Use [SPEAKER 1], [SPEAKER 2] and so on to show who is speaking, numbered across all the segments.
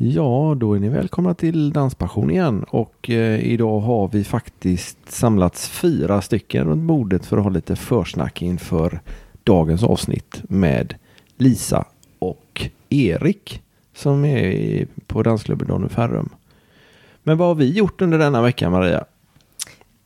[SPEAKER 1] Ja, då är ni välkomna till Danspassion igen och eh, idag har vi faktiskt samlats fyra stycken runt bordet för att ha lite försnack inför dagens avsnitt med Lisa och Erik som är i- på dansklubben Donny Ferrum. Men vad har vi gjort under denna vecka Maria?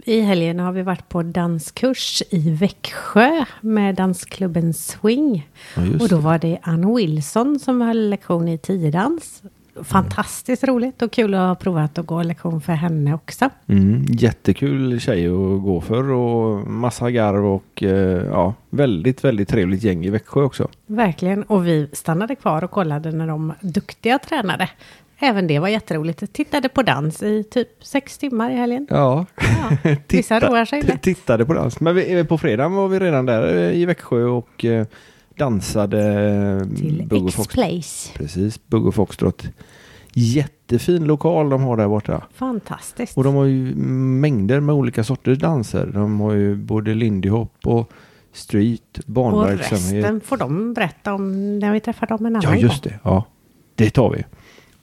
[SPEAKER 2] I helgen har vi varit på danskurs i Växjö med dansklubben Swing.
[SPEAKER 1] Ja, just
[SPEAKER 2] och då
[SPEAKER 1] det.
[SPEAKER 2] var det Ann Wilson som höll lektion i tiodans. Fantastiskt roligt och kul att ha provat att gå lektion för henne också.
[SPEAKER 1] Mm, jättekul tjej att gå för och massa garv och eh, ja, väldigt, väldigt trevligt gäng i Växjö också.
[SPEAKER 2] Verkligen. Och vi stannade kvar och kollade när de duktiga tränade. Även det var jätteroligt. Tittade på dans i typ sex timmar i helgen.
[SPEAKER 1] Ja,
[SPEAKER 2] Ja, vissa roar sig lätt.
[SPEAKER 1] Tittade på dans. Men vi, på fredag var vi redan där eh, i Växjö och eh, dansade eh,
[SPEAKER 2] Till
[SPEAKER 1] Bugg och Fox-
[SPEAKER 2] X-Place.
[SPEAKER 1] Precis, Bugg och Foxtrot. Jättefin lokal de har där borta.
[SPEAKER 2] Fantastiskt.
[SPEAKER 1] Och de har ju mängder med olika sorters danser. De har ju både lindy hop och street,
[SPEAKER 2] Och
[SPEAKER 1] barnverksamhet.
[SPEAKER 2] resten får de berätta om när vi träffar dem en annan
[SPEAKER 1] Ja, just
[SPEAKER 2] gång.
[SPEAKER 1] det. Ja, det tar vi.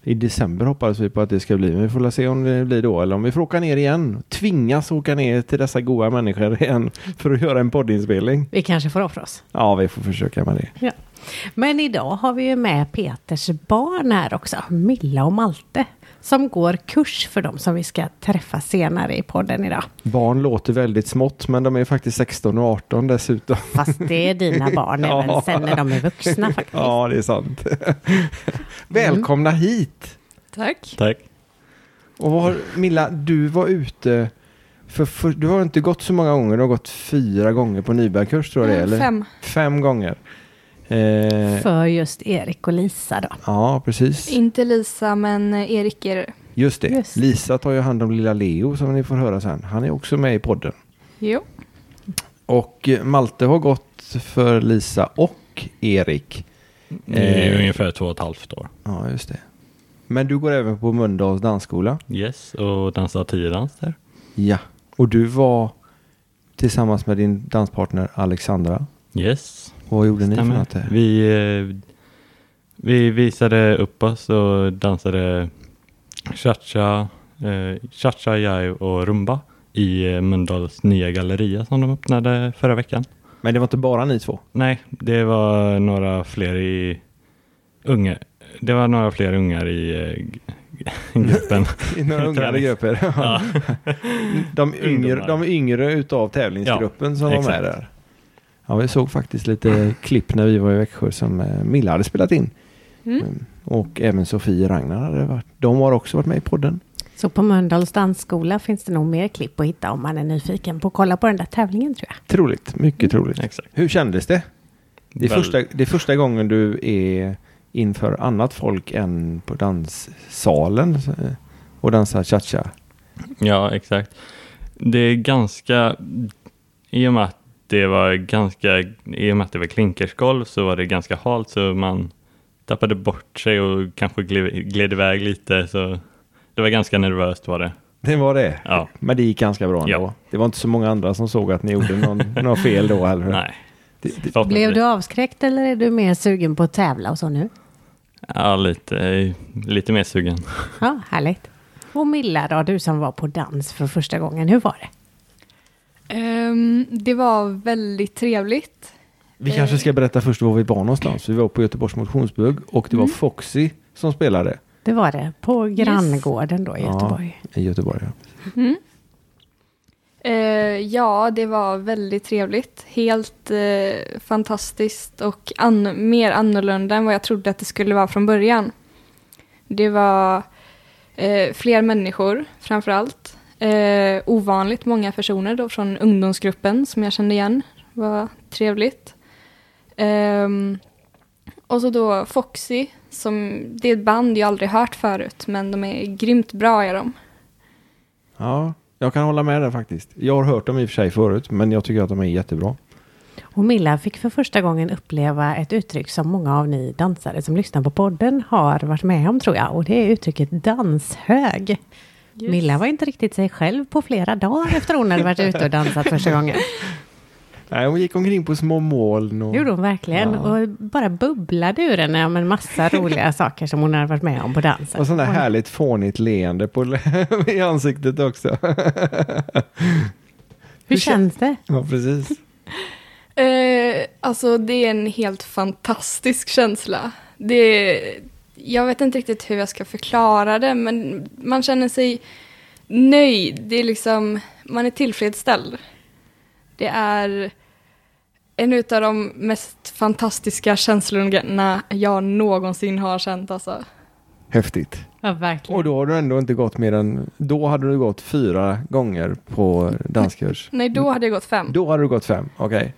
[SPEAKER 1] I december hoppades vi på att det ska bli, men vi får väl se om det blir då eller om vi får åka ner igen. Tvingas åka ner till dessa goa människor igen för att göra en poddinspelning.
[SPEAKER 2] Vi kanske får offra oss.
[SPEAKER 1] Ja, vi får försöka med det.
[SPEAKER 2] Ja. Men idag har vi ju med Peters barn här också, Milla och Malte, som går kurs för dem som vi ska träffa senare i podden idag.
[SPEAKER 1] Barn låter väldigt smått, men de är faktiskt 16 och 18 dessutom.
[SPEAKER 2] Fast det är dina barn
[SPEAKER 1] Ja.
[SPEAKER 2] även sen när de är vuxna faktiskt.
[SPEAKER 1] Ja, det är sant. Mm. Välkomna hit!
[SPEAKER 2] Tack.
[SPEAKER 3] Tack.
[SPEAKER 1] Och vad har, Milla, du var ute för, för, du har inte gått så många gånger, du har gått fyra gånger på Nybergkurs tror jag det är,
[SPEAKER 4] Mm,
[SPEAKER 1] eller?
[SPEAKER 4] fem.
[SPEAKER 1] Fem gånger. Eh,
[SPEAKER 2] För just Erik och Lisa då.
[SPEAKER 1] Ja, precis.
[SPEAKER 4] Inte Lisa, men eh, Erik är det.
[SPEAKER 1] Just det.
[SPEAKER 2] Just.
[SPEAKER 1] Lisa tar ju hand om lilla Leo som ni får höra sen. Han är också med i podden.
[SPEAKER 4] Jo.
[SPEAKER 1] Och eh, Malte har gått för Lisa och Erik.
[SPEAKER 3] Det är
[SPEAKER 1] Eh.
[SPEAKER 3] ungefär två och ett halvt år.
[SPEAKER 1] Ja, just det. Men du går även på Mölndals dansskola.
[SPEAKER 3] Yes, och dansar tiodans där.
[SPEAKER 1] Ja. Och du var tillsammans med din danspartner Alexandra.
[SPEAKER 3] Yes,
[SPEAKER 1] Vad gjorde ni för
[SPEAKER 3] stämmer.
[SPEAKER 1] något? där?
[SPEAKER 3] Vi, eh, vi visade upp oss och dansade cha-cha, eh, cha-cha, jive och rumba i eh, Mölndals nya galleria som de öppnade förra veckan.
[SPEAKER 1] Men det var inte bara ni två?
[SPEAKER 3] Nej, det var några fler i unga. Det var några fler ungar i eh, g- gruppen.
[SPEAKER 1] Några unga
[SPEAKER 3] Träning.
[SPEAKER 1] grupper. de, yngre,
[SPEAKER 3] Ungdomar.
[SPEAKER 1] de yngre utav tävlingsgruppen som var med
[SPEAKER 3] exakt.
[SPEAKER 1] där. Ja, vi såg faktiskt lite klipp när vi var i Växjö som eh, Milla hade spelat in. Mm. Och även Sofie Ragnar hade varit. De har också varit med i podden.
[SPEAKER 2] Så på Mölndals dansskola finns det nog mer klipp att hitta om man är nyfiken på att kolla på den där tävlingen tror jag.
[SPEAKER 1] Troligt, mycket troligt.
[SPEAKER 3] Exakt.
[SPEAKER 1] Hur kändes det? Det är,
[SPEAKER 3] Väl-
[SPEAKER 1] första, det är första gången du är inför annat folk än på danssalen eh, och dansar cha-cha.
[SPEAKER 3] Ja, exakt. Det är ganska, i och med att det var ganska, i och med att det var klinkersgolv så var det ganska halt så man tappade bort sig och kanske gled, gled iväg lite så det var ganska nervöst var det.
[SPEAKER 1] Det var det.
[SPEAKER 3] Ja,
[SPEAKER 1] Men det gick ganska bra ändå.
[SPEAKER 3] Ja.
[SPEAKER 1] Det var inte så många andra som såg att ni gjorde någon, några fel då heller.
[SPEAKER 3] nej.
[SPEAKER 1] Mm. Det, det,
[SPEAKER 3] förhoppningsvis.
[SPEAKER 2] Blev du avskräckt eller är du mer sugen på att tävla och så nu?
[SPEAKER 3] Ja, lite, lite mer sugen.
[SPEAKER 2] Ja, härligt. Och Milla då, du som var på dans för första gången, hur var det?
[SPEAKER 4] Ehm, det var väldigt trevligt.
[SPEAKER 1] vi kanske ska berätta först var vi var någonstans. Vi var på Göteborgs motionsbugg och det var
[SPEAKER 2] Mm.
[SPEAKER 1] Foxy som spelade
[SPEAKER 2] Det var det, på granngården då i
[SPEAKER 1] Ja.
[SPEAKER 2] Göteborg.
[SPEAKER 1] i Göteborg. ja.
[SPEAKER 4] Eh, ja, det var väldigt trevligt. Helt eh, fantastiskt och an- mer annorlunda än vad jag trodde att det skulle vara från början. Det var eh, fler människor framför allt. Eh, ovanligt många personer då från ungdomsgruppen som jag kände igen. Det var trevligt. Ehm, och så då Foxy, som, det är ett band jag aldrig hört förut, men de är grymt bra är de.
[SPEAKER 1] Ja, jag kan hålla med där faktiskt. Jag har hört dem i och för sig förut, men jag tycker att de är jättebra.
[SPEAKER 2] Och Milla fick för första gången uppleva ett uttryck som många av ni dansare som lyssnar på podden har varit med om tror jag. Och det är uttrycket danshög. Milla var inte riktigt sig själv på flera dagar efter hon hade varit ute och dansat första gången.
[SPEAKER 1] Nej, hon gick omkring på små moln. Och...
[SPEAKER 2] Det gjorde hon verkligen.
[SPEAKER 1] Ja.
[SPEAKER 2] Och bara bubblade ur henne om en massa roliga saker som hon hade varit med om på dansen.
[SPEAKER 1] Och sånt där
[SPEAKER 2] Oj.
[SPEAKER 1] härligt fånigt leende på, i ansiktet också.
[SPEAKER 2] Hur känns det?
[SPEAKER 1] Ja, precis.
[SPEAKER 4] Eh, alltså det är en helt fantastisk känsla. Det, jag vet inte riktigt hur jag ska förklara det, men man känner sig nöjd. Det är liksom, man är tillfredsställd. Det är en utav de mest fantastiska känslorna jag någonsin har känt. Alltså.
[SPEAKER 1] Häftigt.
[SPEAKER 2] Ja, verkligen.
[SPEAKER 1] Och då har du ändå inte gått mer än... Då hade du gått fyra gånger på danskurs.
[SPEAKER 4] Nej, då hade jag gått fem.
[SPEAKER 1] Då hade du gått fem, okej.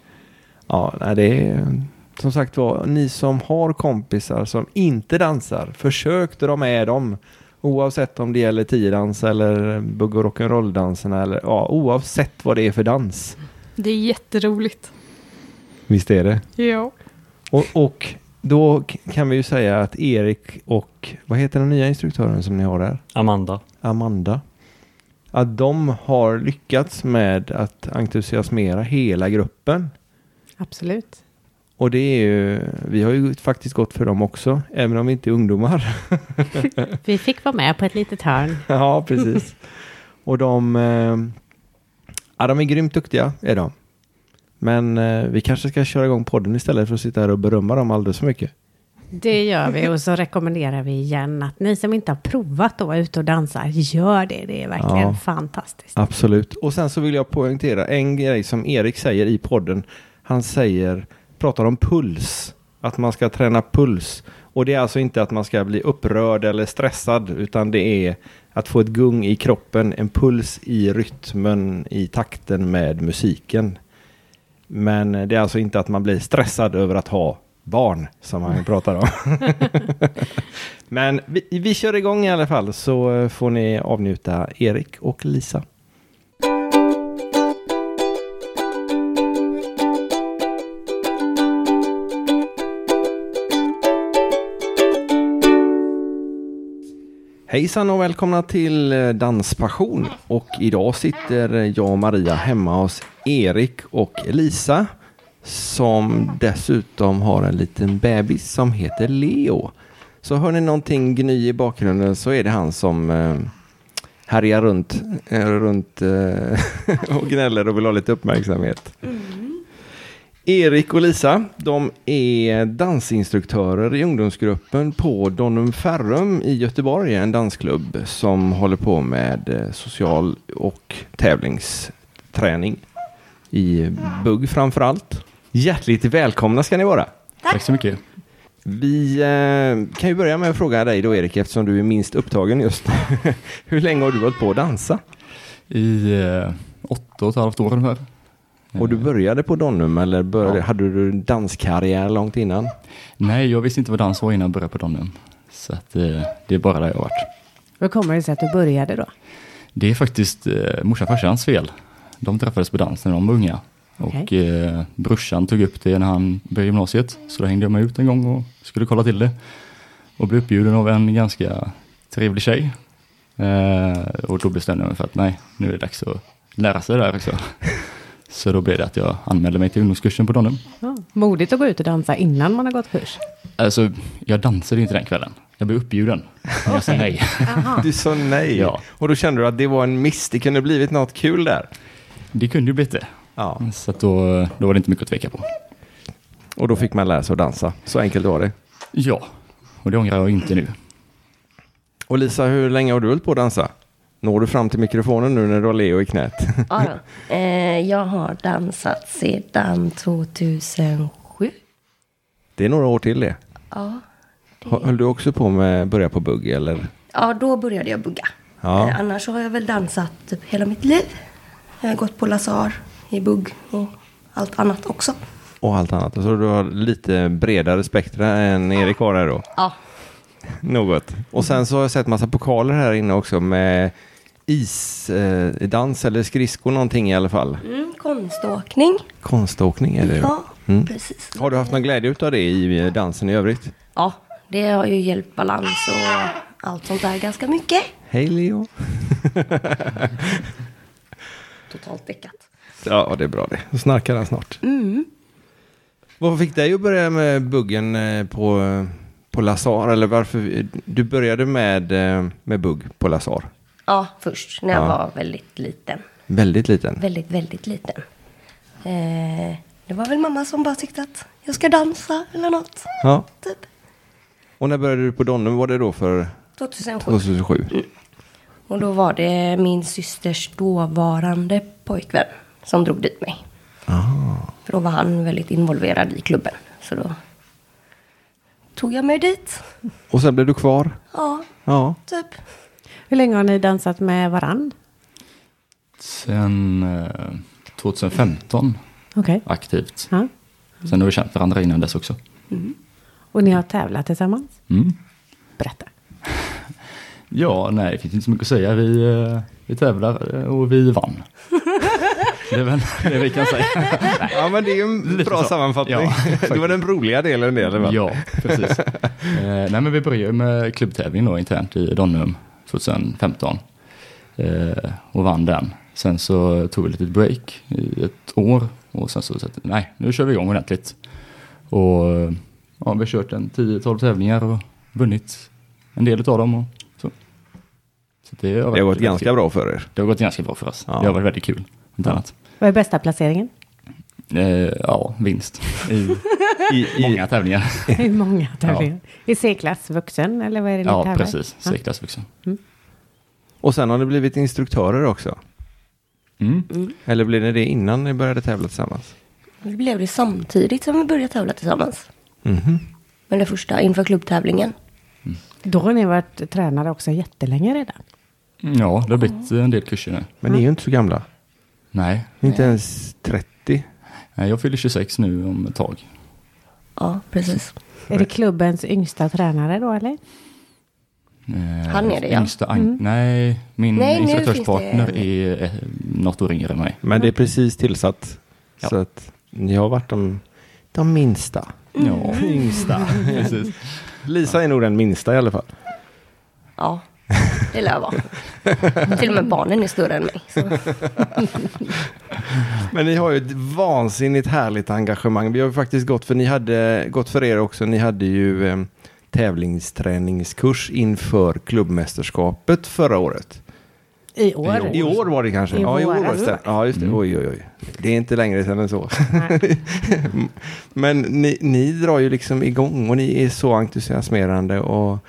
[SPEAKER 1] Ja, nej, det är... Som sagt var, ni som har kompisar som inte dansar, försök dra med dem. Oavsett om det gäller tiodans eller bugg och rock'n'roll-danserna eller ja, oavsett vad det är för dans.
[SPEAKER 4] Det är jätteroligt.
[SPEAKER 1] Visst är det?
[SPEAKER 4] Ja.
[SPEAKER 1] Och, och då k- kan vi ju säga att Erik och, vad heter den nya instruktören som ni har där?
[SPEAKER 3] Amanda.
[SPEAKER 1] Amanda. Att de har lyckats med att entusiasmera hela gruppen.
[SPEAKER 2] Absolut.
[SPEAKER 1] Och det är ju, vi har ju faktiskt gått för dem också, även om vi inte är ungdomar.
[SPEAKER 2] Vi fick vara med på ett litet hörn.
[SPEAKER 1] ja, precis. Och de, eh, ja, de är grymt duktiga, är de. Men eh, vi kanske ska köra igång podden istället för att sitta här och berömma dem alldeles för mycket.
[SPEAKER 2] Det gör vi och så rekommenderar vi igen att ni som inte har provat att vara ute och dansa, gör det. Det är verkligen
[SPEAKER 1] Ja.
[SPEAKER 2] fantastiskt.
[SPEAKER 1] Absolut. Och sen så vill jag poängtera en grej som Erik säger i podden. Han säger, pratar om puls. Att man ska träna puls. Och det är alltså inte att man ska bli upprörd eller stressad. Utan det är att få ett gung i kroppen. En puls i rytmen, i takten med musiken. Men det är alltså inte att man blir stressad över att ha barn som han pratar om. Men vi, vi kör igång i alla fall så får ni avnjuta Erik och Lisa. Hejsan och välkomna till eh, Danspassion. Och idag sitter jag och Maria hemma hos Erik och Lisa som dessutom har en liten bebis som heter Leo. Så hör ni någonting gny i bakgrunden så är det han som eh, härjar runt, eh, runt eh, och gnäller och vill ha lite uppmärksamhet. Erik och Lisa, de är dansinstruktörer i ungdomsgruppen på Donum Ferrum i Göteborg, en dansklubb som håller på med eh, social och tävlingsträning i bugg framför allt. Hjärtligt välkomna ska ni vara!
[SPEAKER 5] Tack så mycket.
[SPEAKER 1] Vi eh, kan ju börja med att fråga dig då Erik, eftersom du är minst upptagen just nu. Hur länge har du hållit på att dansa?
[SPEAKER 5] I eh, åtta och ett halvt år ungefär.
[SPEAKER 1] Och du började på Donum eller började,
[SPEAKER 5] Ja.
[SPEAKER 1] hade du en danskarriär långt innan?
[SPEAKER 5] Nej, jag visste inte vad dans var innan jag började på Donum. Så att, eh, det är bara där jag har varit.
[SPEAKER 2] Hur kommer det sig att du började då?
[SPEAKER 5] Det är faktiskt eh, morsan och farsans fel. De träffades på dans när de var unga. Och
[SPEAKER 2] Okej.
[SPEAKER 5] eh, brorsan tog upp det när han började gymnasiet. Så då hängde jag med ut en gång och skulle kolla till det. Och blev uppbjuden av en ganska trevlig tjej. Eh, och då bestämde jag mig för att nej, nu är det dags att lära sig det här också. Så då blev det att jag anmälde mig till ungdomskursen på Donum.
[SPEAKER 2] Ja. Modigt att gå ut och dansa innan man har gått kurs.
[SPEAKER 5] Alltså, jag dansade ju inte den kvällen. Jag blev uppbjuden. Men jag sa nej.
[SPEAKER 1] Du sa nej.
[SPEAKER 5] Ja.
[SPEAKER 1] Och då kände du att det var en miss, det kunde blivit något kul där.
[SPEAKER 5] Det kunde ju blivit det.
[SPEAKER 1] Ja.
[SPEAKER 5] Så att då, då var det inte mycket att tveka på.
[SPEAKER 1] Och då fick man lära sig att dansa, så enkelt var det.
[SPEAKER 5] Ja, och det ångrar jag inte nu.
[SPEAKER 1] Och Lisa, hur länge har du hållit på att dansa? Når du fram till mikrofonen nu när du har Leo i knät?
[SPEAKER 6] Ja, då. eh, jag har dansat sedan 2007.
[SPEAKER 1] Det är några år till det.
[SPEAKER 6] Ja,
[SPEAKER 1] Höll du också på med börja på bugg eller?
[SPEAKER 6] ja då började jag bugga.
[SPEAKER 1] Ja.
[SPEAKER 6] Eh, annars har jag väl dansat typ hela mitt liv. Jag har gått på Lazar i bugg och allt annat också.
[SPEAKER 1] Och allt annat. Så du har lite bredare spektra än Erik har här då?
[SPEAKER 6] Ja,
[SPEAKER 1] Något. Och sen så har jag sett massa pokaler här inne också med isdans eh, dans eller skridsko någonting i alla fall.
[SPEAKER 6] mm, konståkning.
[SPEAKER 1] Konståkning är det ju.
[SPEAKER 6] Ja,
[SPEAKER 1] Mm.
[SPEAKER 6] precis.
[SPEAKER 1] Har du haft någon glädje av det i eh, dansen i övrigt?
[SPEAKER 6] Ja, det har ju hjälpt balans och allt sånt där ganska mycket.
[SPEAKER 1] Hej Leo!
[SPEAKER 6] Totalt däckat.
[SPEAKER 7] Ja, det är bra det.
[SPEAKER 1] Då snarkar han snart.
[SPEAKER 6] Mm.
[SPEAKER 1] Vad fick dig att börja med buggen eh, på, eh, på Lazar? Eller varför? eh, Du började med, eh, med bugg på Lazar.
[SPEAKER 6] Ja, först när jag
[SPEAKER 1] Ja.
[SPEAKER 6] var väldigt liten.
[SPEAKER 1] Väldigt liten.
[SPEAKER 6] Väldigt, väldigt liten. Eh, det var väl mamma som bara tyckte att jag ska dansa eller något.
[SPEAKER 1] Ja.
[SPEAKER 6] Typ.
[SPEAKER 1] Och när började du på Donnum? Var det då för
[SPEAKER 6] 2007.
[SPEAKER 1] 2007?
[SPEAKER 6] Och då var det min systers dåvarande pojkvän som drog dit mig. För då var han väldigt involverad i klubben. Så då tog jag mig dit.
[SPEAKER 1] Och sen blev du kvar?
[SPEAKER 6] Ja,
[SPEAKER 1] Ja.
[SPEAKER 6] typ.
[SPEAKER 2] Hur länge har ni dansat med varann?
[SPEAKER 5] Sen eh, 2015
[SPEAKER 2] Okej.
[SPEAKER 5] aktivt.
[SPEAKER 2] Ja.
[SPEAKER 5] Sen har vi känt varandra innan dess också.
[SPEAKER 2] Och ni har tävlat tillsammans?
[SPEAKER 5] Mm.
[SPEAKER 2] Berätta.
[SPEAKER 5] Ja, nej, det finns inte så mycket att säga. Vi, eh, vi tävlar eh, och vi vann. det är väl det vi kan säga.
[SPEAKER 1] Ja, men det är ju en
[SPEAKER 5] Lite
[SPEAKER 1] bra
[SPEAKER 5] så.
[SPEAKER 1] sammanfattning.
[SPEAKER 5] Ja,
[SPEAKER 1] det var den roliga delen det, eller vad?
[SPEAKER 5] Ja, precis. eh, nej, men vi började med klubbtävling då, internt i Donnum 2015 eh, och vann den. Sen så tog vi ett litet break i ett år och sen så sa vi nej, nu kör vi igång ordentligt. Och eh, ja, vi har kört en 10-12 tävlingar och vunnit en del av dem. Och så. Så det, har
[SPEAKER 1] Det har gått
[SPEAKER 5] väldigt
[SPEAKER 1] ganska
[SPEAKER 5] kul.
[SPEAKER 1] bra för er.
[SPEAKER 5] Det har gått ganska bra för oss.
[SPEAKER 1] Ja.
[SPEAKER 5] Det har varit väldigt kul. Inte annat.
[SPEAKER 2] Vad är bästa placeringen?
[SPEAKER 5] Eh, ja, vinst i, i många tävlingar.
[SPEAKER 1] Eh.
[SPEAKER 2] Hur många tävlingar? I C-klass vuxen eller vad är det ni
[SPEAKER 5] Ja,
[SPEAKER 2] tävlar?
[SPEAKER 5] precis.
[SPEAKER 2] Ja.
[SPEAKER 5] Seklassvuxen.
[SPEAKER 1] Och sen har ni blivit instruktörer också.
[SPEAKER 5] Mm.
[SPEAKER 1] Eller blev ni det innan ni började tävla tillsammans?
[SPEAKER 6] Vi blev det samtidigt som vi började tävla tillsammans.
[SPEAKER 5] Mm-hmm.
[SPEAKER 1] Mhm.
[SPEAKER 6] Men det första inför klubbtävlingen.
[SPEAKER 2] Då har ni varit tränare också jättelänge redan.
[SPEAKER 5] Ja, det har blivit eh, en del kurser nu.
[SPEAKER 1] Men ni är ju inte så gamla.
[SPEAKER 5] Nej,
[SPEAKER 1] Ni är Inte ens 30.
[SPEAKER 5] nej, Eh, jag fyller 26 nu om ett tag.
[SPEAKER 6] Ja, precis.
[SPEAKER 2] Är det klubbens yngsta tränare då eller?
[SPEAKER 5] Eh,
[SPEAKER 6] Han är det, ja. Mm.
[SPEAKER 5] Yngsta, ang- Nej, min
[SPEAKER 6] Nej, nu
[SPEAKER 5] instruktörspartner
[SPEAKER 6] finns
[SPEAKER 5] är eh, något år yngre än mig.
[SPEAKER 1] Men det är precis tillsatt.
[SPEAKER 5] Ja.
[SPEAKER 1] Så att ni har varit de, de minsta.
[SPEAKER 6] Mm.
[SPEAKER 5] Ja, yngsta. Precis.
[SPEAKER 1] Lisa är nog den minsta i alla fall.
[SPEAKER 6] Ja, det lär jag vara. Till och med barnen är större än mig. Så.
[SPEAKER 1] Men ni har ju ett vansinnigt härligt engagemang. Vi har ju faktiskt gått för, ni hade, gått för er också. Ni hade ju eh, tävlingsträningskurs inför klubbmästerskapet förra året.
[SPEAKER 2] I år?
[SPEAKER 1] I år var det kanske?
[SPEAKER 2] I
[SPEAKER 1] ja, i år var
[SPEAKER 2] våras.
[SPEAKER 1] det. sen. Ja, just det. Oj, oj, oj. Det är inte längre sedan än så.
[SPEAKER 2] Nej.
[SPEAKER 1] Men ni, ni drar ju liksom igång och ni är så entusiasmerande. Och,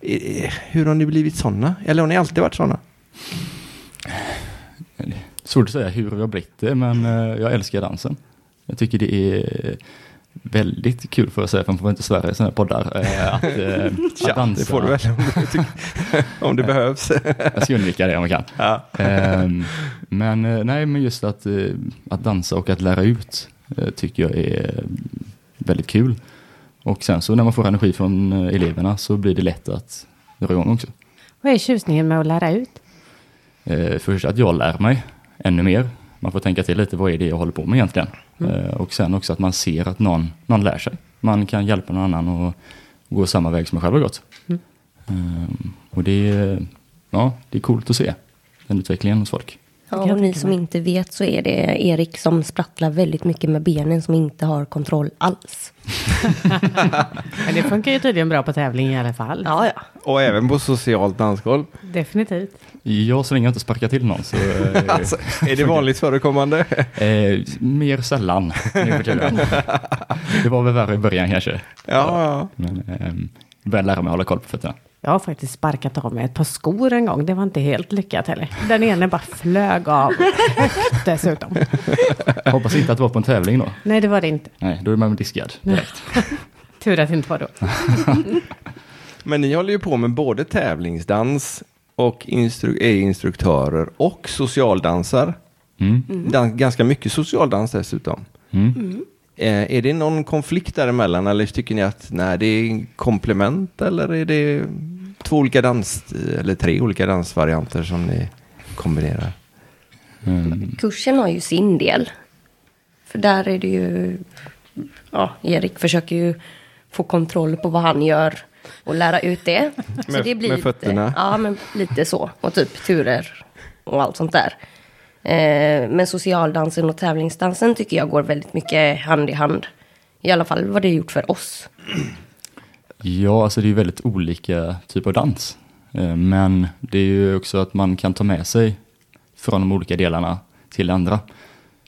[SPEAKER 1] eh, hur har ni blivit sådana? Eller har ni alltid varit sådana?
[SPEAKER 5] Svårt att säga hur jag har blivit det, men eh, jag älskar dansen. Jag tycker det är väldigt kul, får jag säga, för man får inte svära i sådana här poddar, eh, att, eh, att dansa.
[SPEAKER 1] det får du väl om du, tycker- om det behövs.
[SPEAKER 5] Jag ska undvika det om jag kan.
[SPEAKER 1] Ja.
[SPEAKER 5] Ehm, men eh, nej, men just att, eh, att dansa och att lära ut eh, tycker jag är väldigt kul. Och sen så när man får energi från eh, eleverna så blir det lätt att dra igång också.
[SPEAKER 2] Vad är tjusningen med att lära ut?
[SPEAKER 5] Eh, Först att jag lär mig ännu mer. Man får tänka till lite, vad är det jag håller på med egentligen? Eh, Och sen också att man ser att någon, någon lär sig. Man kan hjälpa någon annan och gå samma väg som jag själv har gått. Ehm, Och det är, ja, det är coolt att se den utvecklingen hos folk.
[SPEAKER 6] Ja, och ni som inte vet så är det Erik som sprattlar väldigt mycket med benen som inte har kontroll alls.
[SPEAKER 2] Men det funkar ju tydligen bra på tävling i alla fall.
[SPEAKER 6] Ja, ja.
[SPEAKER 1] Och även på socialt dansgolv.
[SPEAKER 2] Definitivt.
[SPEAKER 5] Jag så länge jag inte sparkar till någon så... eh,
[SPEAKER 1] Alltså, är det vanligt förekommande?
[SPEAKER 5] eh, mer sällan nu för tiden. Det var väl värre i början kanske.
[SPEAKER 1] Ja, ja.
[SPEAKER 5] Men eh, började lära mig hålla koll på fötterna.
[SPEAKER 2] Jag har faktiskt sparkat av mig ett par skor en gång. Det var inte helt lyckat heller. Den ene bara flög av högt dessutom.
[SPEAKER 5] Hoppas inte att det var på en tävling då.
[SPEAKER 2] Nej, det var det inte.
[SPEAKER 5] Nej, då är man diskad direkt.
[SPEAKER 2] Tur att det inte var då.
[SPEAKER 1] Men ni håller ju på med både tävlingsdans och instru- är instruktörer och socialdansar.
[SPEAKER 5] Mm.
[SPEAKER 1] Dan- ganska mycket socialdans dessutom.
[SPEAKER 5] Mm.
[SPEAKER 1] Eh, är det någon konflikt däremellan eller tycker ni att nej, det är komplement eller är det två olika dans eller tre olika dansvarianter som ni kombinerar?
[SPEAKER 5] Mm.
[SPEAKER 6] Kursen har ju sin del. För där är det ju... Ja, Erik försöker ju få kontroll på vad han gör och lära ut det. Så
[SPEAKER 1] Med-
[SPEAKER 6] det blir
[SPEAKER 1] med
[SPEAKER 6] lite,
[SPEAKER 1] fötterna.
[SPEAKER 6] Ja, men lite så. Och typ turer och allt sånt där. Eh, men socialdansen och tävlingsdansen tycker jag går väldigt mycket hand i hand. I alla fall vad det är gjort för oss.
[SPEAKER 5] Ja, alltså det är ju väldigt olika typer av dans. Eh, Men det är ju också att man kan ta med sig från de olika delarna till andra.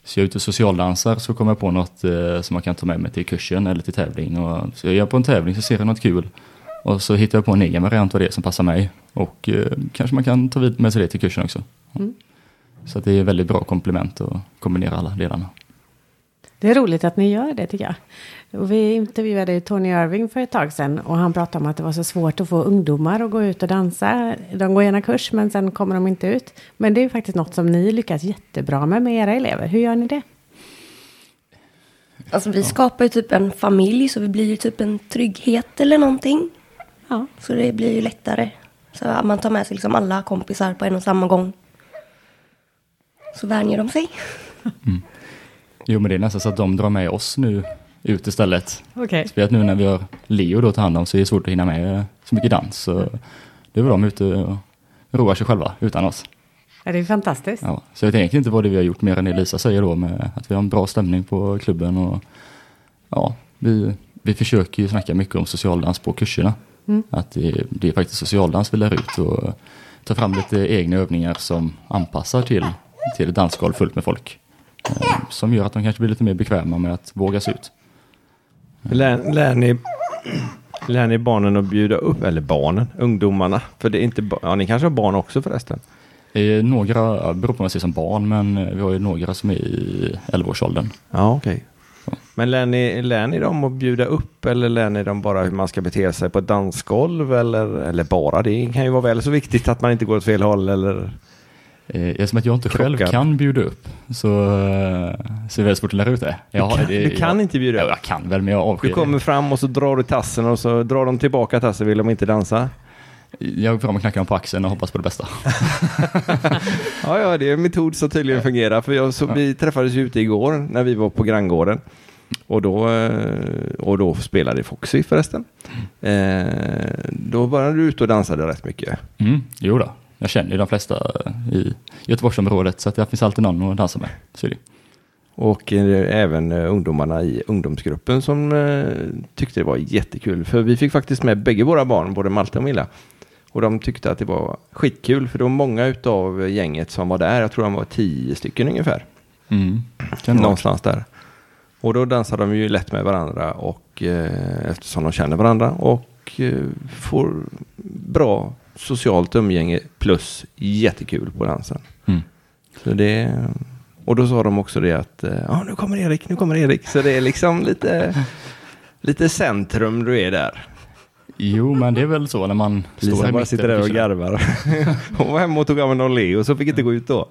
[SPEAKER 5] Så jag är ute och socialdansar så kommer jag på något eh, som man kan ta med mig till kursen eller till tävling. Och så är jag på en tävling så ser jag något kul. Och så hittar jag på en egen variant av det som passar mig. Och eh, kanske man kan ta vid- med sig det till kursen också. Ja. Så att det är väldigt bra komplement att kombinera alla delarna.
[SPEAKER 2] Det är roligt att ni gör det tycker jag. Och vi intervjuade ju Tony Irving för ett tag sedan och han pratade om att det var så svårt att få ungdomar att gå ut och dansa. De går gärna kurs men sen kommer de inte ut. Men det är ju faktiskt något som ni lyckas jättebra med med era elever. Hur gör ni det?
[SPEAKER 6] Alltså vi skapar ju typ en familj så vi blir ju typ en trygghet eller någonting.
[SPEAKER 2] Ja.
[SPEAKER 6] Så det blir ju lättare. Så att man tar med sig liksom alla kompisar på en och samma gång. Så vänjer de sig.
[SPEAKER 5] Jo men det är nästan så att de drar med oss nu ut istället.
[SPEAKER 2] Okej.
[SPEAKER 5] Speciellt nu när vi har Leo då att ta hand om så är det svårt att hinna med så mycket dans. Så det är väl de ute och roar sig själva utan oss.
[SPEAKER 2] Ja, det är fantastiskt.
[SPEAKER 5] Ja. Så jag vet egentligen inte vad det vi har gjort mer än det Lisa säger då med att vi har en bra stämning på klubben och ja, vi, vi försöker ju snacka mycket om socialdans på kurserna. Att det, det är faktiskt socialdans vi lär ut och tar fram lite egna övningar som anpassar till, till ett dansgolv fullt med folk. Eh, Som gör att de kanske blir lite mer bekväma med att våga sig ut.
[SPEAKER 1] Lär, lär, ni, lär ni barnen att bjuda upp, eller barnen, ungdomarna? För det är inte, ba- ja ni kanske har barn också förresten?
[SPEAKER 5] Eh, Några, ja, det beror på om man ser som barn, men eh, vi har ju några som är i 11-årsåldern.
[SPEAKER 1] Ja, okej. Men lär ni, lär ni dem att bjuda upp eller lär ni dem bara hur man ska bete sig på ett dansgolv? Eller, eller bara det kan ju vara väl så viktigt att man inte går åt fel håll eller...
[SPEAKER 5] Eh, Eftersom att jag inte själv
[SPEAKER 1] Krockar.
[SPEAKER 5] kan bjuda upp så, eh, så är det väldigt svårt att lära ut det. Jag,
[SPEAKER 1] kan-
[SPEAKER 5] det-
[SPEAKER 1] du kan
[SPEAKER 5] jag,
[SPEAKER 1] inte bjuda
[SPEAKER 5] Ja,
[SPEAKER 1] upp.
[SPEAKER 5] Jag kan väl, men jag avskyr
[SPEAKER 1] Du kommer fram och så drar du tassen och så drar de tillbaka tassen, vill de inte dansa?
[SPEAKER 5] det. Jag går fram och knackar dem på axeln och hoppas på det bästa.
[SPEAKER 1] Ja, ja, det är en metod som tydligen fungerar. För jag, så, vi träffades ju ute igår när vi var på granngården. Och då, eh, och då spelade Foxy förresten. Eh, då började du ut och dansade rätt mycket.
[SPEAKER 5] Mm, jo då. jag känner ju de flesta eh, i Göteborgsområdet så att det finns alltid någon att dansa med. Så är det.
[SPEAKER 1] Och eh, även eh, ungdomarna i ungdomsgruppen som eh, tyckte det var jättekul. För vi fick faktiskt med bägge våra barn, både Malte och Milla. Och de tyckte att det var skitkul, för det var många utav gänget som var där. Jag tror de var tio stycken ungefär.
[SPEAKER 5] Mm. Kan det vara.
[SPEAKER 1] Någonstans där. Och då dansar de ju lätt med varandra och eh, eftersom de känner varandra och eh, får bra socialt umgänge plus jättekul på dansen.
[SPEAKER 5] Mm.
[SPEAKER 1] Så det, och då sa de också det att eh, ja nu kommer Erik, nu kommer Erik. Så det är liksom lite, lite centrum du är där.
[SPEAKER 5] Jo, men det är väl så när man står
[SPEAKER 1] Lisa bara
[SPEAKER 5] i mitten.
[SPEAKER 1] sitter där och
[SPEAKER 5] kanske.
[SPEAKER 1] garvar. Hon var hemma och tog av en Oleo så fick inte gå ut då.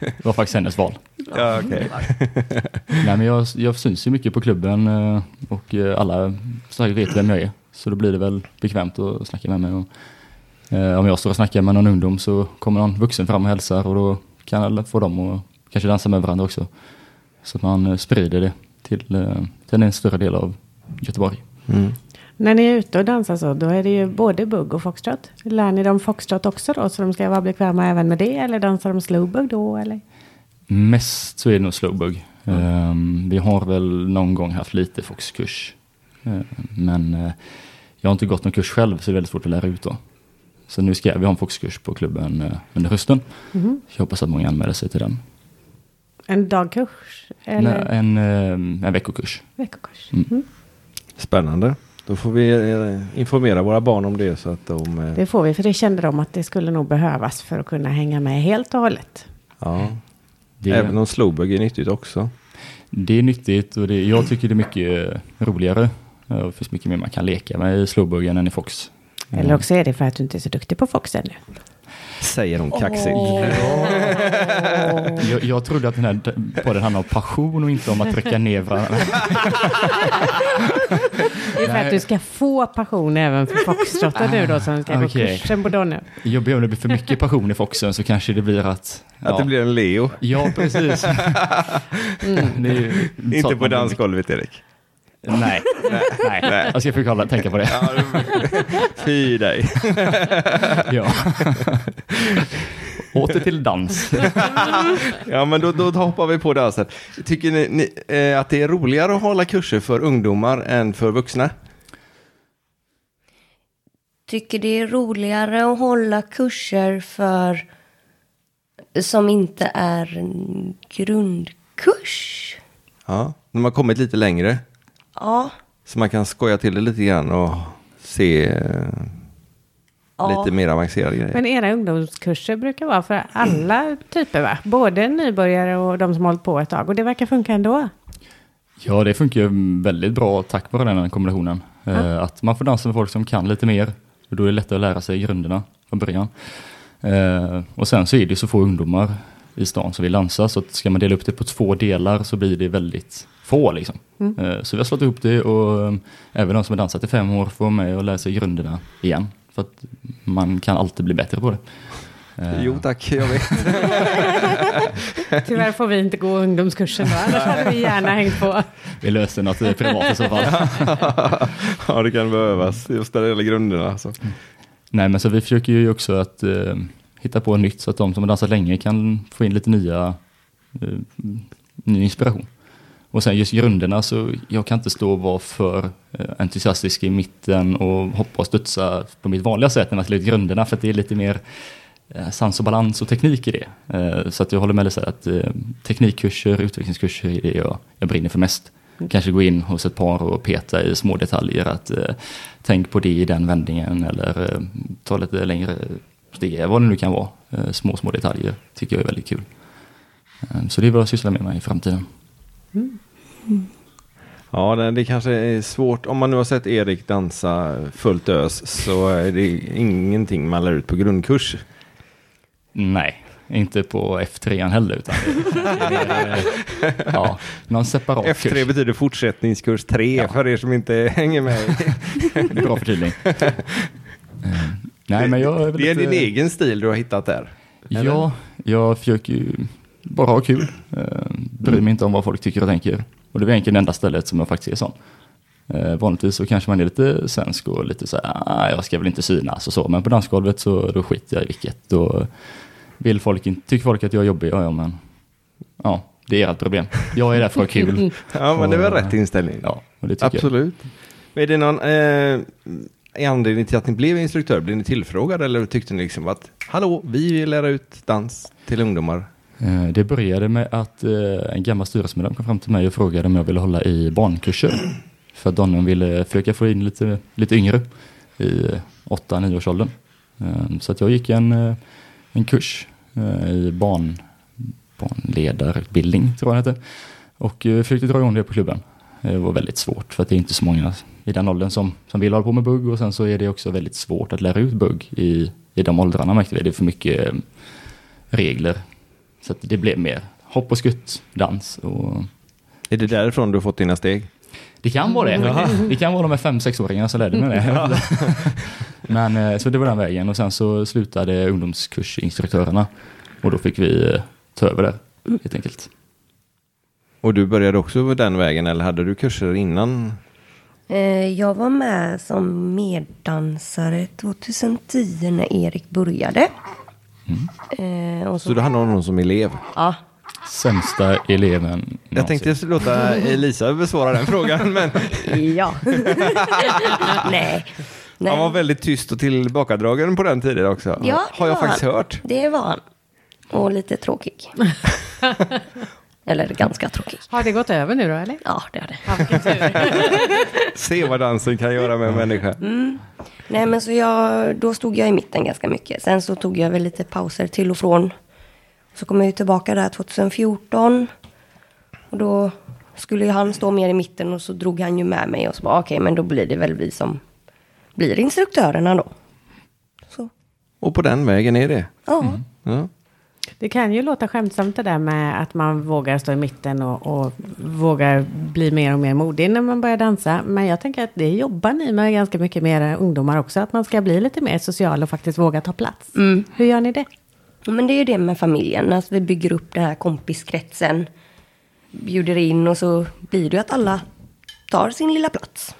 [SPEAKER 5] Det var faktiskt hennes val.
[SPEAKER 1] ja, okej.
[SPEAKER 5] Nej, men jag, jag syns ju mycket på klubben eh, och eh, alla så här vet vem jag är. Så då blir det väl bekvämt att snacka med mig. Och, eh, om jag står och snackar med någon ungdom så kommer någon vuxen fram och hälsar och då kan alla få dem att kanske dansa med varandra också. Så att man eh, sprider det till, eh, till en större del av Göteborg.
[SPEAKER 2] När ni är ute och dansar så, då är det ju både bugg och foxtrot. Lär ni dem foxtrot också då, så de ska vara bekväma även med det? Eller dansar de slowbug då? Eller?
[SPEAKER 5] Mest så är det nog slowbug. Ehm, vi har väl någon gång haft lite foxkurs. Ehm, men eh, jag har inte gått någon kurs själv så det är väldigt svårt att lära ut då. Så nu ska vi ha en foxkurs på klubben eh, under hösten.
[SPEAKER 1] Mhm.
[SPEAKER 5] Jag hoppas att många anmäler sig till den.
[SPEAKER 2] En dagkurs? Eller
[SPEAKER 5] Nej, Mm. en, eh, en veckokurs.
[SPEAKER 2] veckokurs? Mm.
[SPEAKER 1] Spännande. Då får vi eh, informera våra barn om det så att de... eh,
[SPEAKER 2] Det får vi, för det kände de att det skulle nog behövas för att kunna hänga med helt och hållet.
[SPEAKER 1] Ja.
[SPEAKER 5] Det,
[SPEAKER 1] Även om slowbug är nyttigt också.
[SPEAKER 5] det är nyttigt och det, jag tycker det är mycket eh, roligare. Eh, och Det finns mycket mer man kan leka med i slowbuggen än i fox.
[SPEAKER 2] Eller också är det för att du inte är så duktig på Fox ännu.
[SPEAKER 1] Säger hon kaxigt.
[SPEAKER 5] Jag, jag trodde att den här d- podden handlade om passion och inte om att trycka ner varandra.
[SPEAKER 2] Det är för att du ska få passion även för foxtrotten nu då, som ska gå
[SPEAKER 5] okej.
[SPEAKER 2] kursen på dagen nu.
[SPEAKER 5] Jobbiga om det blir för mycket passion i foxen så kanske det blir att... Ja,
[SPEAKER 1] Att det blir en Leo.
[SPEAKER 5] ja precis. Det är ju så
[SPEAKER 1] Inte
[SPEAKER 5] att
[SPEAKER 1] på
[SPEAKER 5] man-
[SPEAKER 1] dansgolvet Erik.
[SPEAKER 5] Nej, nej. Jag ska försöka tänka på det.
[SPEAKER 1] Fy dig.
[SPEAKER 5] Ja. Åter till dans.
[SPEAKER 1] Ja, men då, då hoppar vi på dansen. Tycker ni, ni eh, att det är roligare att hålla kurser för ungdomar än för vuxna?
[SPEAKER 6] Tycker det är roligare att hålla kurser för som inte är en grundkurs.
[SPEAKER 1] Ja, när man kommit lite längre.
[SPEAKER 6] Ja,
[SPEAKER 1] Så man kan skoja till det lite grann och se eh,
[SPEAKER 6] Ja.
[SPEAKER 1] lite mer avancerade grejer.
[SPEAKER 2] Men era ungdomskurser brukar vara för alla typer va? Både nybörjare och de som hållit på ett tag. Och det verkar funka ändå.
[SPEAKER 5] Ja, det funkar ju väldigt bra tack vare den här kombinationen. Eh, Att man får dansa med folk som kan lite mer. Och då är det lättare att lära sig grunderna från början. Eh, Och sen så är det ju så få ungdomar i stan som vill dansa. Så att ska man dela upp det på två delar så blir det väldigt få liksom. Eh, Så vi har slått ihop det och eh, även de som har dansat i fem år får vara med och lära sig grunderna igen. För att man kan alltid bli bättre på det. Eh,
[SPEAKER 1] Jo tack, jag vet.
[SPEAKER 2] Tyvärr får vi inte gå ungdomskursen då. Annars hade vi gärna hängt på.
[SPEAKER 5] Vi löser något eh, privat i så fall.
[SPEAKER 1] ja, det kan behövas
[SPEAKER 5] Mm.
[SPEAKER 1] just när det gäller grunderna. Alltså.
[SPEAKER 5] Nej, men så vi försöker ju också att eh, hitta på nytt så att de som har dansat länge kan få in lite nya, eh, ny inspiration. Och sen just grunderna så jag kan inte stå och vara för eh, entusiastisk i mitten och hoppa och studsa på mitt vanliga sätt när man slår ut grunderna för att det är lite mer eh, sans och balans och teknik i det. Eh, så att jag håller med Lisa att eh, teknikkurser, utvecklingskurser är det jag, jag brinner för mest. Kanske gå in hos ett par och peta i små detaljer att eh, tänk på det i den vändningen eller eh, ta lite längre steg, vad det nu kan vara. Eh, små, små detaljer tycker jag är väldigt kul. Eh, så det är vad jag sysslar med mig i framtiden.
[SPEAKER 1] Ja, det, det kanske är svårt. Om man nu har sett Erik dansa fullt ös så är det ingenting man lär ut på grundkurs.
[SPEAKER 5] Nej, inte på F3 heller utan eh, ja, någon separat
[SPEAKER 1] F3 betyder fortsättningskurs 3 för er som inte hänger med.
[SPEAKER 5] kurs. Bra förtydligning. Eh, Nej, men jag väl
[SPEAKER 1] Det är
[SPEAKER 5] lite-
[SPEAKER 1] din egen stil du har hittat där. eller?
[SPEAKER 5] Ja, jag försöker ju bara ha kul. Eh, bryr mig inte om vad folk tycker och tänker. Och det är egentligen det enda stället som jag faktiskt är sån. Eh, vanligtvis så kanske man är lite svensk och lite så här, ah, jag ska väl inte synas och så. Men på dansgolvet så då skiter jag i vilket. Då vill folk inte, tycker folk att jag är jobbig, ja, ja men. Ja, det är ert problem. Jag är där för att ha kul.
[SPEAKER 1] Ja, men det är väl rätt inställning.
[SPEAKER 5] Ja, och det tycker
[SPEAKER 1] Absolut. Men är det någon eh, anledning till att ni blev instruktör? Blev ni tillfrågade eller tyckte ni liksom att hallå, vi vill lära ut dans till ungdomar?
[SPEAKER 5] Eh, Det började med att eh, en gammal styrelsemedlem kom fram till mig och frågade om jag ville hålla i barnkurser. För att dottern ville försöka få in lite, lite yngre i 8-9 års åldern. Eh, Så att jag gick en, eh, en kurs eh, i barn, barnledarutbildning, tror jag det hette. Och eh, försökte dra igång det på klubben. Eh, Det var väldigt svårt för att det är inte så många i den åldern som, som vill hålla på med bugg och sen så är det också väldigt svårt att lära ut bugg i, i de åldrarna märkte vi. Det är för mycket eh, regler så att det blev mer hopp och skutt, dans och
[SPEAKER 1] Är det därifrån du har fått dina steg?
[SPEAKER 5] det kan vara det. Det kan vara de här fem sexåringarna som lärde mig det. Men eh, så det var den vägen och sen så slutade ungdomskursinstruktörerna och då fick vi eh, ta över där helt enkelt.
[SPEAKER 1] Och du började också den vägen eller hade du kurser innan?
[SPEAKER 6] eh, jag var med som meddansare 2010 när Erik började. Eh, och så,
[SPEAKER 1] Så du hade någon som elev?
[SPEAKER 6] ja,
[SPEAKER 5] Sämsta eleven
[SPEAKER 1] Jag tänkte jag skulle låta Elisa besvara den frågan, men
[SPEAKER 6] ja. nej. nej.
[SPEAKER 1] han var väldigt tyst och tillbakadragen på den tiden också.
[SPEAKER 6] Ja, det
[SPEAKER 1] har jag
[SPEAKER 6] var
[SPEAKER 1] faktiskt
[SPEAKER 6] han.
[SPEAKER 1] hört.
[SPEAKER 6] Det var han. Och lite tråkig. Eller ganska tråkig.
[SPEAKER 2] Har det gått över nu då eller?
[SPEAKER 6] Ja, det är det.
[SPEAKER 2] Ja, vilken tur. någonsin.
[SPEAKER 1] Se vad dansen kan göra med en människa.
[SPEAKER 6] Mm. Nej, men så jag, då stod jag i mitten ganska mycket. Sen så tog jag väl lite pauser till och från. Så kom jag ju tillbaka där 2014. Och då skulle ju han stå mer i mitten och så drog han ju med mig och så bara okej, men då blir det väl vi som blir instruktörerna då. Så,
[SPEAKER 1] Och på den vägen är det.
[SPEAKER 6] ja.
[SPEAKER 1] Ja.
[SPEAKER 2] Det kan ju låta skämtsamt det där med att man vågar stå i mitten och, och vågar bli mer och mer modig när man börjar dansa. Men jag tänker att det jobbar ni med ganska mycket med era ungdomar också. Att man ska bli lite mer social och faktiskt våga ta plats. Hur gör ni det?
[SPEAKER 6] Men det är ju det med familjen, att vi bygger upp den här kompiskretsen. Bjuder in och så blir det ju att alla tar sin lilla plats.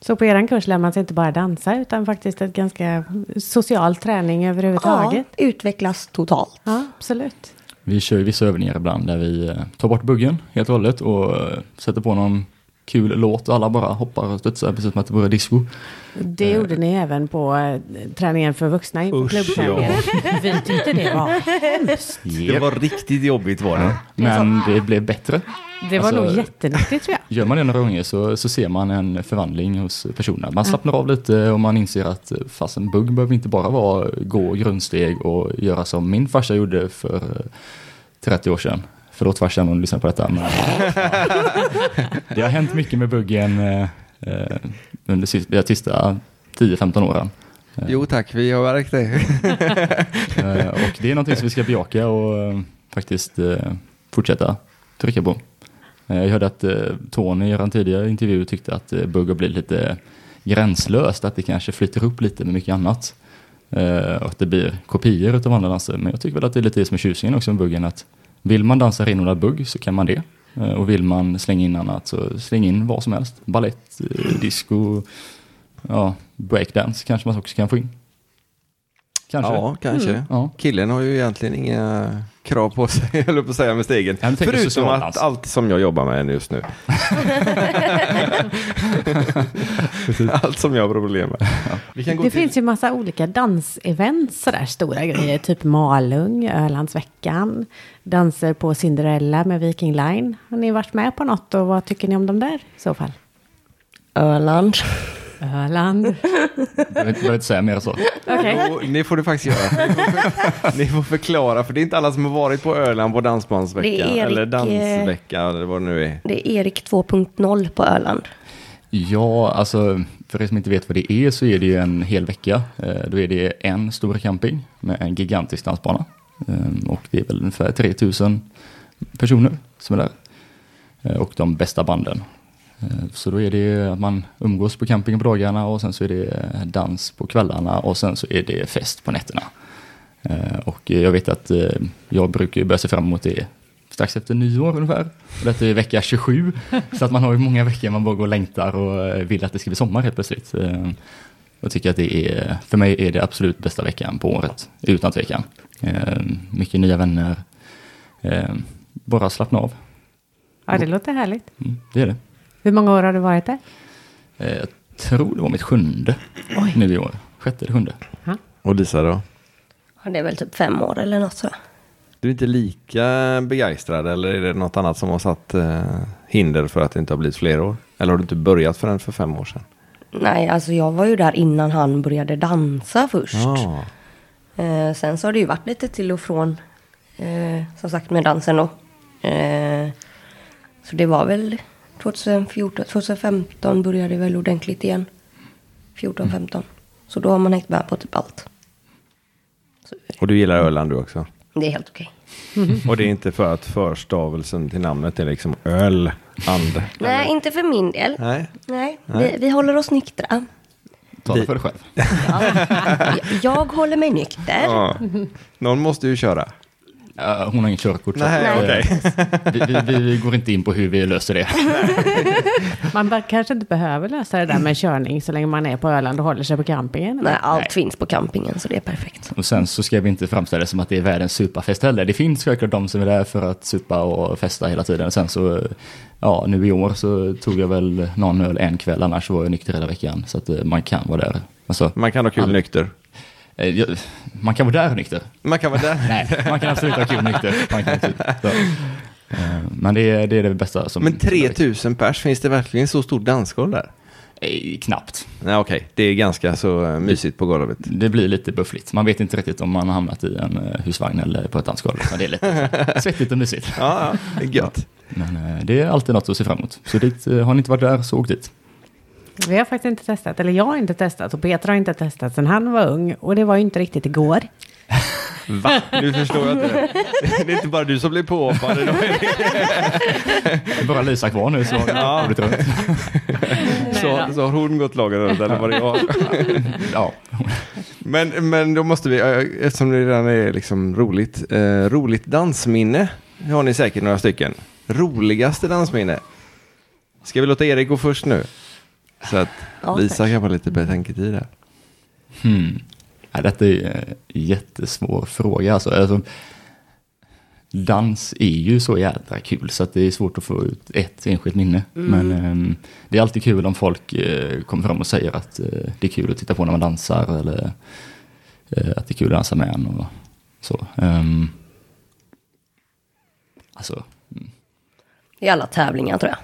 [SPEAKER 2] Så på er kurs lär man sig inte bara dansa utan faktiskt ett ganska social träning överhuvudtaget.
[SPEAKER 6] Ja, utvecklas totalt.
[SPEAKER 2] Ja, absolut.
[SPEAKER 5] Vi kör ju vissa övningar ibland där vi eh, tar bort buggen helt och hållet och eh, sätter på någon kul låt och alla bara hoppar och studsar precis som att det vore disco.
[SPEAKER 2] Det gjorde ni även på eh, träningen för vuxna in på
[SPEAKER 7] Usch,
[SPEAKER 2] klubbträningen. Vi tyckte det var hemskt.
[SPEAKER 7] Det var riktigt jobbigt var det.
[SPEAKER 5] Men det blev bättre.
[SPEAKER 2] Det var
[SPEAKER 5] Alltså-
[SPEAKER 2] nog jättenyttigt tror jag.
[SPEAKER 5] Gör man det några gånger så, så ser man en förvandling hos personerna. Man slappnar av lite och man inser att eh, fasen bugg behöver inte bara vara gå grundsteg och göra som min farsa gjorde för eh, 30 år sedan. Förlåt farsan om du lyssnar på detta. Men, det har hänt mycket med buggen eh, eh, under sis- de sista 10-15 åren.
[SPEAKER 1] Jo tack, vi har märkt det.
[SPEAKER 5] Eh, och det är någonting som vi ska bejaka och eh, faktiskt eh, fortsätta trycka på. Eh, jag hörde att eh, Tony i en tidigare intervju tyckte att eh, bugg har blivit lite gränslöst, att det kanske flyter upp lite med mycket annat. Eh, och att det blir kopior utav andra danser. Men jag tycker väl att det är lite det som är tjusningen också med buggen, att vill man dansa renodlad bugg så kan man det. Eh, och vill man slänga in annat så släng in vad som helst. Ballett, eh, disco, ja, breakdance kanske man också kan få in. Kanske.
[SPEAKER 1] Ja, kanske.
[SPEAKER 5] Ja.
[SPEAKER 1] Killen har ju egentligen inga krav på sig, jag höll på att säga, med stegen.
[SPEAKER 5] Ja, men tänk dig
[SPEAKER 1] Förutom att
[SPEAKER 5] socialdans.
[SPEAKER 1] allt som jag jobbar med just nu. allt som jag har problem med. Vi kan gå
[SPEAKER 2] Det
[SPEAKER 1] till
[SPEAKER 2] finns ju massa olika dansevents, sådär stora grejer. Typ Malung, Ölandsveckan, danser på Cinderella med Viking Line. Har ni varit med på något och vad tycker ni om dem där i så fall?
[SPEAKER 6] Öland.
[SPEAKER 2] Öland.
[SPEAKER 5] Jag behöver inte- behöver inte säga mer så.
[SPEAKER 2] Okej.
[SPEAKER 1] Jo, det får du faktiskt göra. Ni får, för, ni får förklara, för det är inte alla som har varit på Öland på
[SPEAKER 6] Det
[SPEAKER 1] dansbandsveckan.
[SPEAKER 6] är Erik,
[SPEAKER 1] Eller
[SPEAKER 6] eh,
[SPEAKER 1] dansvecka, eller vad det nu är.
[SPEAKER 6] Det är Erik 2.0 på Öland.
[SPEAKER 5] Ja, alltså för er som inte vet vad det är så är det ju en hel vecka. Eh, Då är det en stor camping med en gigantisk dansbana. Eh, Och det är väl ungefär 3000 personer som är där. Eh, Och de bästa banden. Eh, Så då är det att man umgås på campingen på dagarna och sen så är det eh, dans på kvällarna och sen så är det fest på nätterna. Eh, Och jag vet att eh, jag brukar ju börja se fram emot det strax efter nyår ungefär. Och Detta är vecka 27, så att man har ju många veckor man bara går och längtar och eh, vill att det ska bli sommar helt plötsligt. Eh, Jag tycker att det är, för mig är det absolut bästa veckan på året, utan tvekan. Eh, Mycket nya vänner, Eh, bara slappna av.
[SPEAKER 2] Ja, det låter härligt.
[SPEAKER 5] Mm, Det är det.
[SPEAKER 2] Hur många år har du varit där?
[SPEAKER 5] Eh, Jag tror det var mitt sjunde nu i år, sjätte eller sjunde.
[SPEAKER 7] Och Lisa då?
[SPEAKER 6] Ja, Det är väl typ fem år eller något så.
[SPEAKER 1] Du är inte lika begeistrad eller är det något annat som har satt eh, hinder för att det inte har blivit fler år? Eller har du inte börjat förrän för fem år sedan?
[SPEAKER 6] Nej, alltså jag var ju där innan han började dansa först.
[SPEAKER 1] Ja,
[SPEAKER 6] Eh, sen så har det ju varit lite till och från, eh, som sagt, med dansen då. Eh, så det var väl 2014, 2015 började det väl ordentligt igen. 14, 15. Så då har man hängt med på typ allt.
[SPEAKER 1] och du gillar Öland du också?
[SPEAKER 6] Det är helt okej.
[SPEAKER 1] Och det är inte för att förstavelsen till namnet är liksom öl, and.
[SPEAKER 6] Nej, inte för min del. Nej,
[SPEAKER 1] Nej,
[SPEAKER 6] Vi, vi håller oss nyktra.
[SPEAKER 5] Tala
[SPEAKER 1] Vi-
[SPEAKER 5] för dig själv.
[SPEAKER 6] Jag, jag håller mig nykter.
[SPEAKER 1] ja. någon måste ju köra.
[SPEAKER 5] Eh, Hon har inget körkort. så
[SPEAKER 1] Nej,
[SPEAKER 5] att, eh,
[SPEAKER 1] okej.
[SPEAKER 5] vi, vi, vi går inte in på hur vi löser det.
[SPEAKER 2] Man bara, kanske inte behöver lösa det där med körning så länge man är på Öland och håller sig på campingen.
[SPEAKER 6] Nej, allt finns på campingen så det är perfekt.
[SPEAKER 5] Och sen så ska vi inte framställa det som att det är världens superfest heller. Det finns självklart de som är där för att supa och festa hela tiden. Sen så, eh, ja nu i år så tog jag väl någon öl en kväll, annars var jag nykter hela veckan. Så att eh, man kan vara där. Alltså,
[SPEAKER 1] Man kan ha kul
[SPEAKER 5] Ja.
[SPEAKER 1] nykter.
[SPEAKER 5] eh, jag- man kan vara där nykter.
[SPEAKER 1] Man kan vara där.
[SPEAKER 5] Nej, man kan absolut ha kul nykter. Man kan absolut, så. Eh, Men det är, det är det bästa som...
[SPEAKER 1] Men 3000 pers, finns det verkligen så stor dansgolv där?
[SPEAKER 5] Eh, Knappt.
[SPEAKER 1] Nej, okej. Det är ganska så eh, mysigt på golvet.
[SPEAKER 5] Det blir lite buffligt. Man vet inte riktigt om man har hamnat i en eh, husvagn eller på ett dansgolv. Men det är lite svettigt och mysigt.
[SPEAKER 1] Ja, ja. Gött.
[SPEAKER 5] Men eh, det är alltid något att se fram emot. Så dit, eh, har ni inte varit där så åk dit.
[SPEAKER 2] Vi har faktiskt inte testat, eller jag har inte testat och Peter har inte testat sedan han var ung. Och det var ju inte riktigt igår.
[SPEAKER 1] Va? Nu förstår jag inte. Det är inte bara du som blir påhoppad idag.
[SPEAKER 5] Det är bara Lisa kvar nu så har
[SPEAKER 1] Ja.
[SPEAKER 5] ni roligt runt.
[SPEAKER 1] Så, så har hon gått lagen runt eller vad det var.
[SPEAKER 5] Ja.
[SPEAKER 1] Men, men då måste vi, eh, eftersom det redan är liksom roligt, eh, roligt dansminne Det har ni säkert några stycken. Roligaste dansminne. Ska vi låta Erik gå först nu? Så att
[SPEAKER 6] Ja,
[SPEAKER 1] Lisa
[SPEAKER 6] tack.
[SPEAKER 1] kan få lite betänketid där.
[SPEAKER 5] Hmm. Ja, detta är ju en jättesvår fråga. Alltså, alltså, dans är ju så jädra kul så att det är svårt att få ut ett enskilt minne. Men ehm, det är alltid kul om folk eh, kommer fram och säger att eh, det är kul att titta på när man dansar eller eh, att det är kul att dansa med en och så. Ehm, alltså,
[SPEAKER 6] I alla tävlingar tror jag.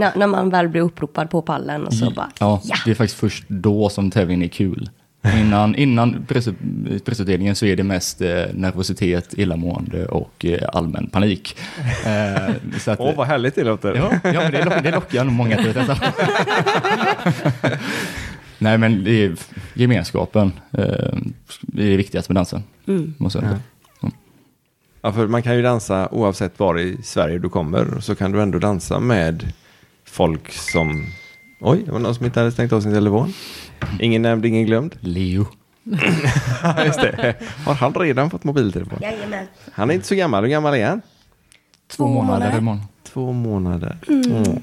[SPEAKER 6] När, när man väl blir uppropad på pallen och så bara
[SPEAKER 5] Mm. Ja,
[SPEAKER 6] ja.
[SPEAKER 5] det är faktiskt först då som tävlingen är kul. Innan, innan pris- prisutdelningen så är det mest eh, nervositet, illamående och eh, allmän panik. Eh, så att,
[SPEAKER 1] vad härligt det låter.
[SPEAKER 5] ja, ja, men det, lock, det lockar nog många till att testa. Nej, men det är gemenskapen eh, det är det viktigaste med dansen.
[SPEAKER 6] Mm.
[SPEAKER 5] Måste jag säga.
[SPEAKER 1] Ja, för man kan ju dansa oavsett var i Sverige du kommer. Så kan du ändå dansa med folk som... Oj, det var någon som inte hade stängt av sin telefon. Ingen nämnd, ingen glömd.
[SPEAKER 5] Leo.
[SPEAKER 1] Ja, Just det. Har han redan fått mobiltelefon?
[SPEAKER 6] Jajamän.
[SPEAKER 1] Han är inte så gammal. Hur gammal är han?
[SPEAKER 6] Två månader.
[SPEAKER 5] imorgon.
[SPEAKER 1] Två månader. Mm.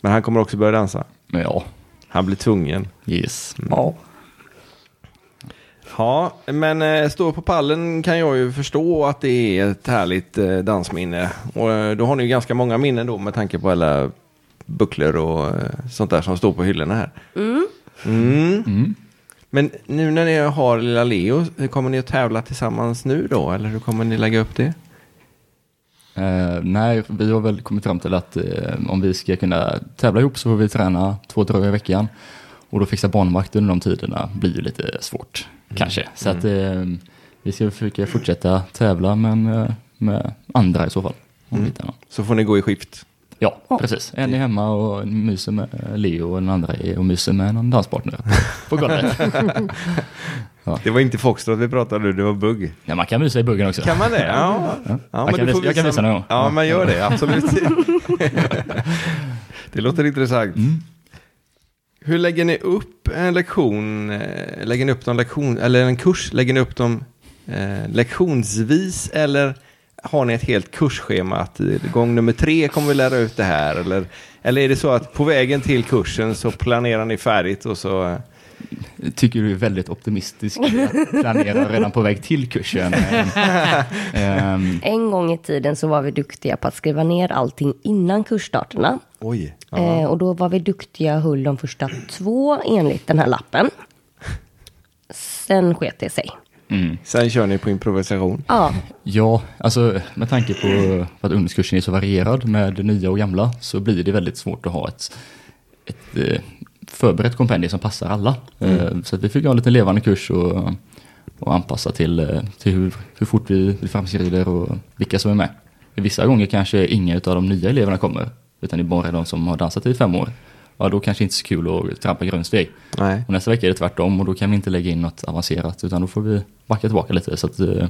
[SPEAKER 1] Men han kommer också börja dansa.
[SPEAKER 5] Ja,
[SPEAKER 1] Han blir tvungen.
[SPEAKER 5] yes.
[SPEAKER 6] Ja.
[SPEAKER 1] Ja, men eh, stå på pallen kan jag ju förstå att det är ett härligt eh, dansminne. Och eh, då har ni ju ganska många minnen då med tanke på alla bucklor och eh, sånt där som står på hyllorna här. Mm. Men nu när ni har lilla Leo, eh, kommer ni att tävla tillsammans nu då? Eller hur kommer ni lägga upp det?
[SPEAKER 5] Eh, nej, vi har väl kommit fram till att eh, om vi ska kunna tävla ihop så får vi träna två, tre dagar i veckan. Och då fixa barnvakt under de tiderna blir ju lite svårt
[SPEAKER 1] Mm.
[SPEAKER 5] kanske. Så att eh, vi ska försöka fortsätta tävla men eh, med andra i så fall. Om
[SPEAKER 1] Mm.
[SPEAKER 5] vi hittar någon.
[SPEAKER 1] Så får ni gå i skift.
[SPEAKER 5] Ja, precis. En är hemma och myser med Leo och den andra är och myser med någon danspartner på golvet.
[SPEAKER 1] Det var inte Foxtrot vi pratade nu, det var bugg.
[SPEAKER 5] ja, man kan mysa i buggen också.
[SPEAKER 1] Kan man det? Ja.
[SPEAKER 5] Jag kan
[SPEAKER 1] du får
[SPEAKER 5] visa- jag kan visa någon gång.
[SPEAKER 1] Ja, men gör det. Absolut. det låter intressant.
[SPEAKER 5] Mm.
[SPEAKER 1] Hur lägger ni upp en lektion? eh, Lägger ni upp dem lektion, eller en kurs? Lägger ni upp dem eh, lektionsvis eller har ni ett helt kursschema? Att eh, gång nummer tre kommer vi lära ut det här. Eller, eller är det så att på vägen till kursen så planerar ni färdigt och så... eh,
[SPEAKER 5] tycker du är väldigt optimistisk. Jag planerar redan på väg till kursen. Ehm,
[SPEAKER 6] En gång i tiden så var vi duktiga på att skriva ner allting innan kursstarterna.
[SPEAKER 1] Oj.
[SPEAKER 6] Eh, och då var vi duktiga och höll de första två enligt den här lappen. Sen sket det sig.
[SPEAKER 1] Sen kör ni på improvisation.
[SPEAKER 6] Ja,
[SPEAKER 5] Ja, alltså med tanke på att ungdomskursen är så varierad med nya och gamla så blir det väldigt svårt att ha ett, ett eh, förberett kompendium som passar alla. Eh, Så att vi fick ha en liten levande kurs och, och anpassa till, eh, till hur, hur fort vi vi framskrider och vilka som är med. Vissa gånger kanske inga av de nya eleverna kommer, utan det är bara de som har dansat i fem år. Ja, då kanske inte så kul att trampa grundsteg.
[SPEAKER 1] Nej.
[SPEAKER 5] Och nästa vecka är det tvärtom och då kan vi inte lägga in något avancerat utan då får vi backa tillbaka lite. Så att, eh,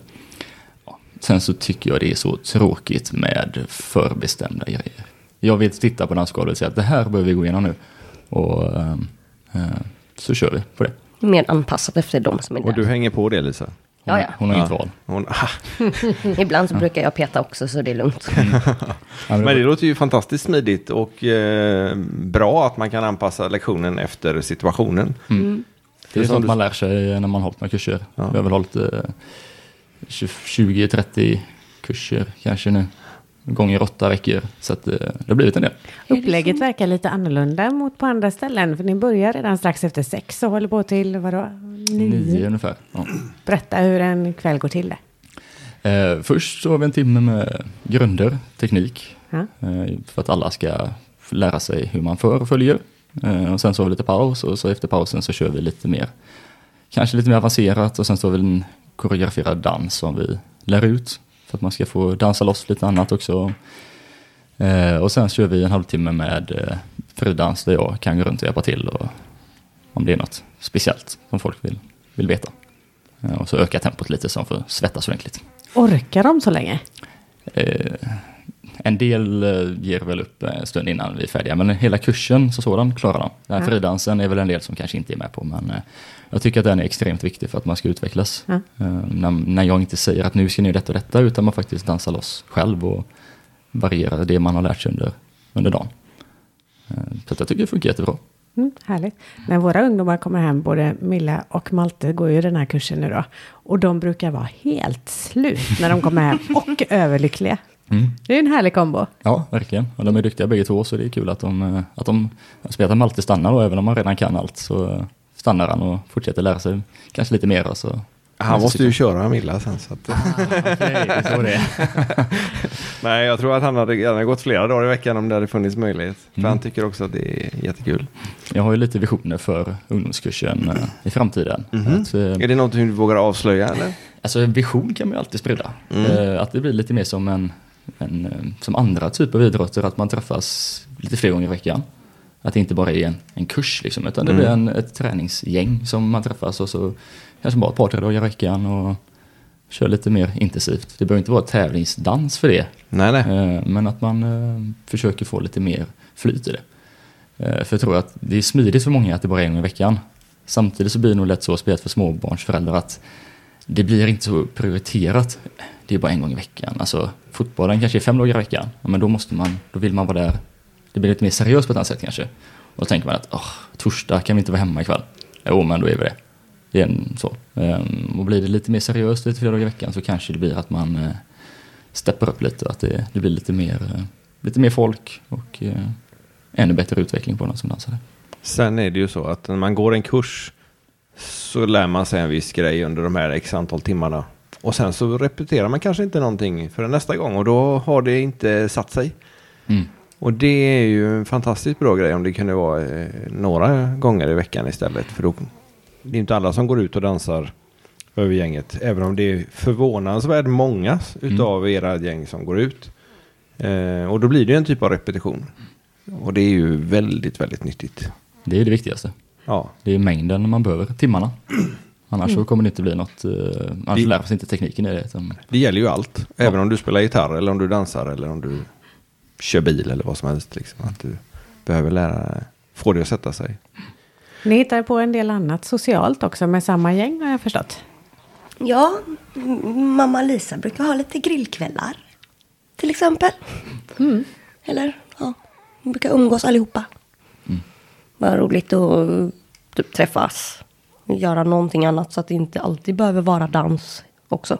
[SPEAKER 5] ja. Sen så tycker jag det är så tråkigt med förbestämda grejer. Jag vill titta på dansgolvet och säga att det här behöver vi gå igenom nu. Och eh, eh, så kör vi på det.
[SPEAKER 6] mer anpassat efter de som är
[SPEAKER 1] Och du
[SPEAKER 6] där.
[SPEAKER 1] hänger på det Lisa?
[SPEAKER 5] Hon,
[SPEAKER 6] Ja, ja.
[SPEAKER 5] hon har inget val.
[SPEAKER 1] Hon, ah,
[SPEAKER 6] Ibland så brukar jag peta också så det är lugnt.
[SPEAKER 5] Ja, men
[SPEAKER 1] Men det
[SPEAKER 5] det-
[SPEAKER 1] låter ju fantastiskt smidigt och eh, bra att man kan anpassa lektionen efter situationen.
[SPEAKER 5] Mm. Det är
[SPEAKER 1] som
[SPEAKER 5] sånt
[SPEAKER 1] du-
[SPEAKER 5] man lär sig när man har hållit några kurser. Vi har väl hållit eh, 20 20-30 kurser kanske nu. Gånger åtta veckor. Så att, eh, det har blivit en del.
[SPEAKER 2] Upplägget verkar lite annorlunda mot på andra ställen. För ni börjar redan strax efter sex och håller på till vadå?
[SPEAKER 5] Nio
[SPEAKER 2] Nio.
[SPEAKER 5] ungefär. Ja.
[SPEAKER 2] Berätta hur en kväll går till det.
[SPEAKER 5] Eh, först så har vi en timme med grunder, teknik,
[SPEAKER 2] Ja.
[SPEAKER 5] eh, för att alla ska f- lära sig hur man för och följer. Eh, och sen så har vi lite paus och så efter pausen så kör vi lite mer, kanske lite mer avancerat och sen så har vi en koreograferad dans som vi lär ut för att man ska få dansa loss lite annat också. Eh, och sen kör vi en halvtimme med eh, fridans där jag kan gå runt och hjälpa till och om det är något speciellt som folk vill, vill veta. Eh, och så ökar tempot lite så de får svettas ordentligt.
[SPEAKER 2] Orkar de så länge?
[SPEAKER 5] Eh, en del eh, ger väl upp eh, en stund innan vi är färdiga, men hela kursen så sådan klarar de. Den här
[SPEAKER 2] Ja.
[SPEAKER 5] fridansen är väl en del som kanske inte är med på, men eh, jag tycker att den är extremt viktig för att man ska utvecklas.
[SPEAKER 2] Ja.
[SPEAKER 5] Eh, när, när jag inte säger att nu ska ni göra detta och detta, utan man faktiskt dansar loss själv och varierar det man har lärt sig under, under dagen. Eh, så att jag tycker det funkar jättebra.
[SPEAKER 2] Mm, härligt. När våra ungdomar kommer hem, både Milla och Malte går ju den här kursen nu då. Och de brukar vara helt slut när de kommer hem och överlyckliga.
[SPEAKER 5] Mm.
[SPEAKER 2] Det är ju en härlig kombo.
[SPEAKER 5] Ja, verkligen. Och de är duktiga bägge två så det är kul att de, eh, att de spelar att Malte stannar då, även om han redan kan allt så eh, stannar han och fortsätter lära sig kanske lite mer. och Så.
[SPEAKER 1] Han måste ju köra Milla sen. Så att... Nej, jag tror att han hade gärna gått flera dagar i veckan om det hade funnits möjlighet.
[SPEAKER 5] Mm.
[SPEAKER 1] För han tycker också att det är jättekul.
[SPEAKER 5] Jag har ju lite visioner för ungdomskursen eh, i framtiden. Att, eh,
[SPEAKER 1] Är det något du vågar avslöja eller?
[SPEAKER 5] Alltså en vision kan man ju alltid sprida. Eh, Att det blir lite mer som en, en eh, som andra typer av idrotter, att man träffas lite fler gånger i veckan. Att det inte bara är en, en kurs liksom, utan det blir en, ett träningsgäng som man träffas och så kanske bara ett par, tre dagar i veckan och kör lite mer intensivt. Det behöver inte vara tävlingsdans för det,
[SPEAKER 1] Nej, nej.
[SPEAKER 5] Eh, Men att man eh, försöker få lite mer flyt i det. Eh, För jag tror att det är smidigt för många att det bara är en gång i veckan. Samtidigt så blir det nog lätt så, speciellt för småbarnsföräldrar, att det blir inte så prioriterat. Det är bara en gång i veckan. Alltså fotbollen kanske är fem dagar i veckan. Ja, men då måste man, då vill man vara där. Det blir lite mer seriöst på ett annat sätt kanske. Och då tänker man att åh, torsdag kan vi inte vara hemma ikväll. Jo, men då är vi det. Det är en så. Ehm, Och blir det lite mer seriöst lite fler dagar i veckan så kanske det blir att man eh, steppar upp lite. Att det, det blir lite mer, eh, lite mer folk och eh, ännu bättre utveckling på någon som dansare.
[SPEAKER 1] Sen är det ju så att när man går en kurs så lär man sig en viss grej under de här x antal timmarna. Och sen så repeterar man kanske inte någonting för nästa gång och då har det inte satt sig.
[SPEAKER 5] Mm.
[SPEAKER 1] Och det är ju en fantastiskt bra grej om det kunde vara eh, några gånger i veckan istället. För då, det är inte alla som går ut och dansar över gänget. Även om det är förvånansvärt många utav era gäng som går ut. Eh, och då blir det ju en typ av repetition. Och det är ju väldigt, väldigt nyttigt.
[SPEAKER 5] Det är det viktigaste.
[SPEAKER 1] Ja,
[SPEAKER 5] Det är mängden man behöver, timmarna. Annars så kommer det inte bli något, eh, annars
[SPEAKER 1] Det-
[SPEAKER 5] lär man sig inte tekniken i det. Utan,
[SPEAKER 1] det gäller ju allt. Även om du spelar gitarr eller om du dansar eller om du kör bil eller vad som helst. Liksom. Att du behöver lära, få det att sätta sig.
[SPEAKER 2] Ni hittar på en del annat socialt också med samma gäng har jag förstått.
[SPEAKER 6] Ja, m- mamma Lisa brukar ha lite grillkvällar. Till exempel. Mm. Eller, ja. Vi brukar umgås allihopa. Vad roligt att eh, typ, träffas. Göra någonting annat så att det inte alltid behöver vara dans också.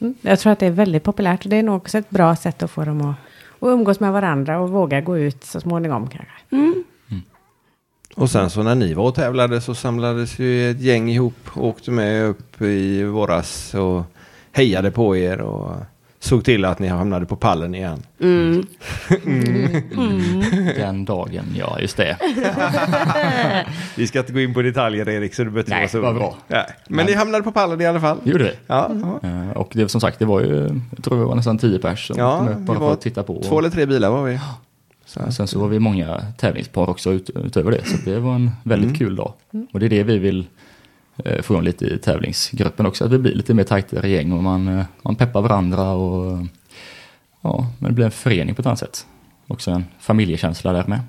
[SPEAKER 2] Mm. Jag tror att det är väldigt populärt och det är nog också ett bra sätt att få dem att, att umgås med varandra och våga gå ut så småningom kanske.
[SPEAKER 1] Mm. Och sen så när ni var och tävlade så samlades ju ett gäng ihop och åkte med upp i våras och hejade på er och såg till att ni hamnade på pallen igen.
[SPEAKER 5] Den dagen, ja just det.
[SPEAKER 1] Vi ska inte gå in på detaljer Erik så du behöver inte
[SPEAKER 5] Nej,
[SPEAKER 1] vara så...
[SPEAKER 5] vad bra.
[SPEAKER 1] Nej. Men ni hamnade på pallen i alla fall.
[SPEAKER 5] Det gjorde vi.
[SPEAKER 1] Ja,
[SPEAKER 5] Eh, Och det, som sagt, det var ju, jag tror det var nästan tio pers som
[SPEAKER 1] ja
[SPEAKER 5] kom upp
[SPEAKER 1] vi
[SPEAKER 5] bara för
[SPEAKER 1] var
[SPEAKER 5] att titta på.
[SPEAKER 1] två eller tre bilar var vi.
[SPEAKER 5] Och Sen så var vi många tävlingspar också ut, utöver det, så det var en väldigt
[SPEAKER 1] Mm.
[SPEAKER 5] kul dag. Och det är det vi vill eh, få igång lite i tävlingsgruppen också, att vi blir lite mer tajtare gäng och man, eh, man peppar varandra och eh, ja, men det blir en förening på ett annat sätt. Också en familjekänsla där med.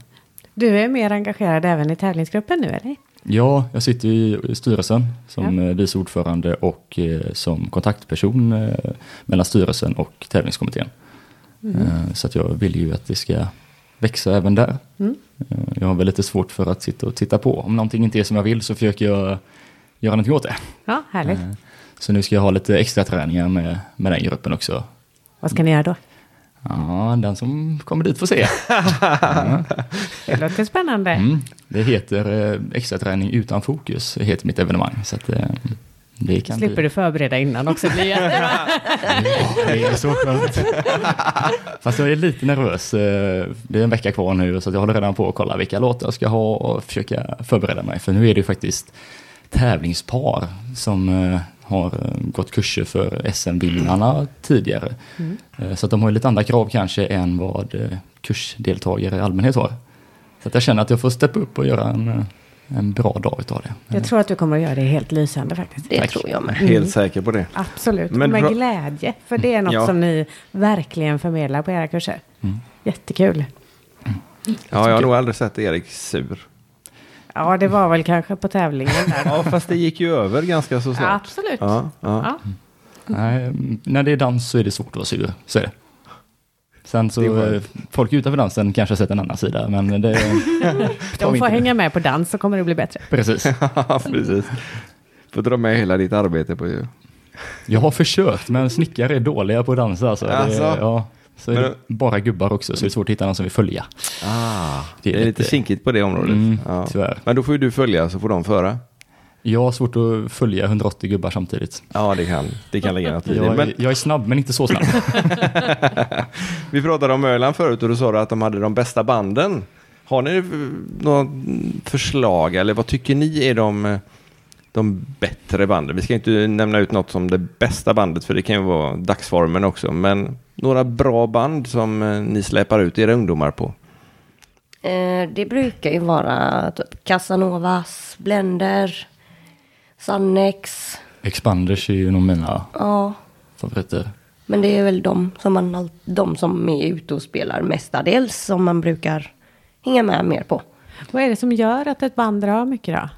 [SPEAKER 2] Du är mer engagerad även i tävlingsgruppen nu eller?
[SPEAKER 5] Ja, jag sitter i i styrelsen som ja. vice ordförande och eh, som kontaktperson eh, mellan styrelsen och tävlingskommittén. Eh, Så att jag vill ju att det ska växa även där. Eh, Jag har väl lite svårt för att sitta och titta på. Om någonting inte är som jag vill så försöker jag göra någonting åt det.
[SPEAKER 2] Ja, härligt.
[SPEAKER 5] Eh, Så nu ska jag ha lite extra träningar med, med den gruppen också.
[SPEAKER 2] Vad ska ni göra då?
[SPEAKER 5] Ja, den som kommer dit får se.
[SPEAKER 2] Det låter spännande.
[SPEAKER 5] Mm. Det heter eh, extra träning utan fokus, heter mitt evenemang. Så att, eh, det kan bli-
[SPEAKER 2] Slipper du förbereda innan också. Det
[SPEAKER 5] Mm.
[SPEAKER 2] är jättebra.
[SPEAKER 5] Det är så skönt. Fast jag är lite nervös. eh, Det är en vecka kvar nu så att jag håller redan på att kolla vilka låtar jag ska ha och försöka förbereda mig. För nu är det ju faktiskt tävlingspar som eh, har eh, gått kurser för SM-vinnarna tidigare. Eh, Så att de har ju lite andra krav kanske än vad eh, kursdeltagare i allmänhet har. Så att jag känner att jag får steppa upp och göra en, eh, en bra dag utav det.
[SPEAKER 2] Jag tror att du kommer att göra det helt lysande faktiskt.
[SPEAKER 6] Det
[SPEAKER 5] Tack.
[SPEAKER 6] tror jag med.
[SPEAKER 1] Helt säker på det.
[SPEAKER 2] Absolut,
[SPEAKER 1] Men
[SPEAKER 2] Men med
[SPEAKER 1] bra- Mm.
[SPEAKER 2] glädje. För det är något
[SPEAKER 1] Ja.
[SPEAKER 2] som ni verkligen förmedlar på era kurser.
[SPEAKER 5] Mm.
[SPEAKER 2] Jättekul.
[SPEAKER 1] Ja, jag har nog aldrig sett Erik sur.
[SPEAKER 2] Ja, det var väl kanske på tävlingen där.
[SPEAKER 1] Ja, fast det gick ju över ganska så snart.
[SPEAKER 2] Absolut.
[SPEAKER 1] Ja, ja.
[SPEAKER 2] Ja.
[SPEAKER 5] Nej, när det är dans så är det svårt att vara sur. Så är det. Sen så,
[SPEAKER 1] Det var-
[SPEAKER 5] eh, folk utanför dansen kanske har sett en annan sida, men det tar
[SPEAKER 2] De
[SPEAKER 5] vi
[SPEAKER 2] får
[SPEAKER 5] inte med.
[SPEAKER 2] hänga med på dans så kommer det bli bättre.
[SPEAKER 5] Precis.
[SPEAKER 1] Precis. Får dra med hela ditt arbete på
[SPEAKER 5] Jag har försökt, men snickare är dåliga på att dansa. Alltså.
[SPEAKER 1] Alltså.
[SPEAKER 5] Det, ja. Så är det
[SPEAKER 1] Men-
[SPEAKER 5] bara gubbar också, så det är svårt att hitta någon som vill följa.
[SPEAKER 1] Ah, det är lite kinkigt på det området.
[SPEAKER 5] Mm,
[SPEAKER 1] ja.
[SPEAKER 5] tyvärr.
[SPEAKER 1] Men då får ju du följa så får de föra.
[SPEAKER 5] Jag har svårt att följa 180 gubbar samtidigt.
[SPEAKER 1] Ja, det kan, det kan lägga något i det.
[SPEAKER 5] Jag,
[SPEAKER 1] Men
[SPEAKER 5] jag är snabb, men inte så snabb.
[SPEAKER 1] vi pratade om Öland förut och då sa du att de hade de bästa banden. Har ni eh, några förslag eller vad tycker ni är de, eh, de bättre banden? Vi ska inte nämna ut något som det bästa bandet för det kan ju vara dagsformen också. Men några bra band som eh, ni släpar ut era ungdomar på?
[SPEAKER 6] Eh, det brukar ju vara typ Casanovas, Blender, Sannex.
[SPEAKER 5] Expanders är ju nog mina
[SPEAKER 6] Ja,
[SPEAKER 5] favoriter.
[SPEAKER 6] men det är väl de som, man, all- de som är ute och spelar mestadels som man brukar hänga med mer på.
[SPEAKER 2] Vad är det som gör att ett band drar mycket då?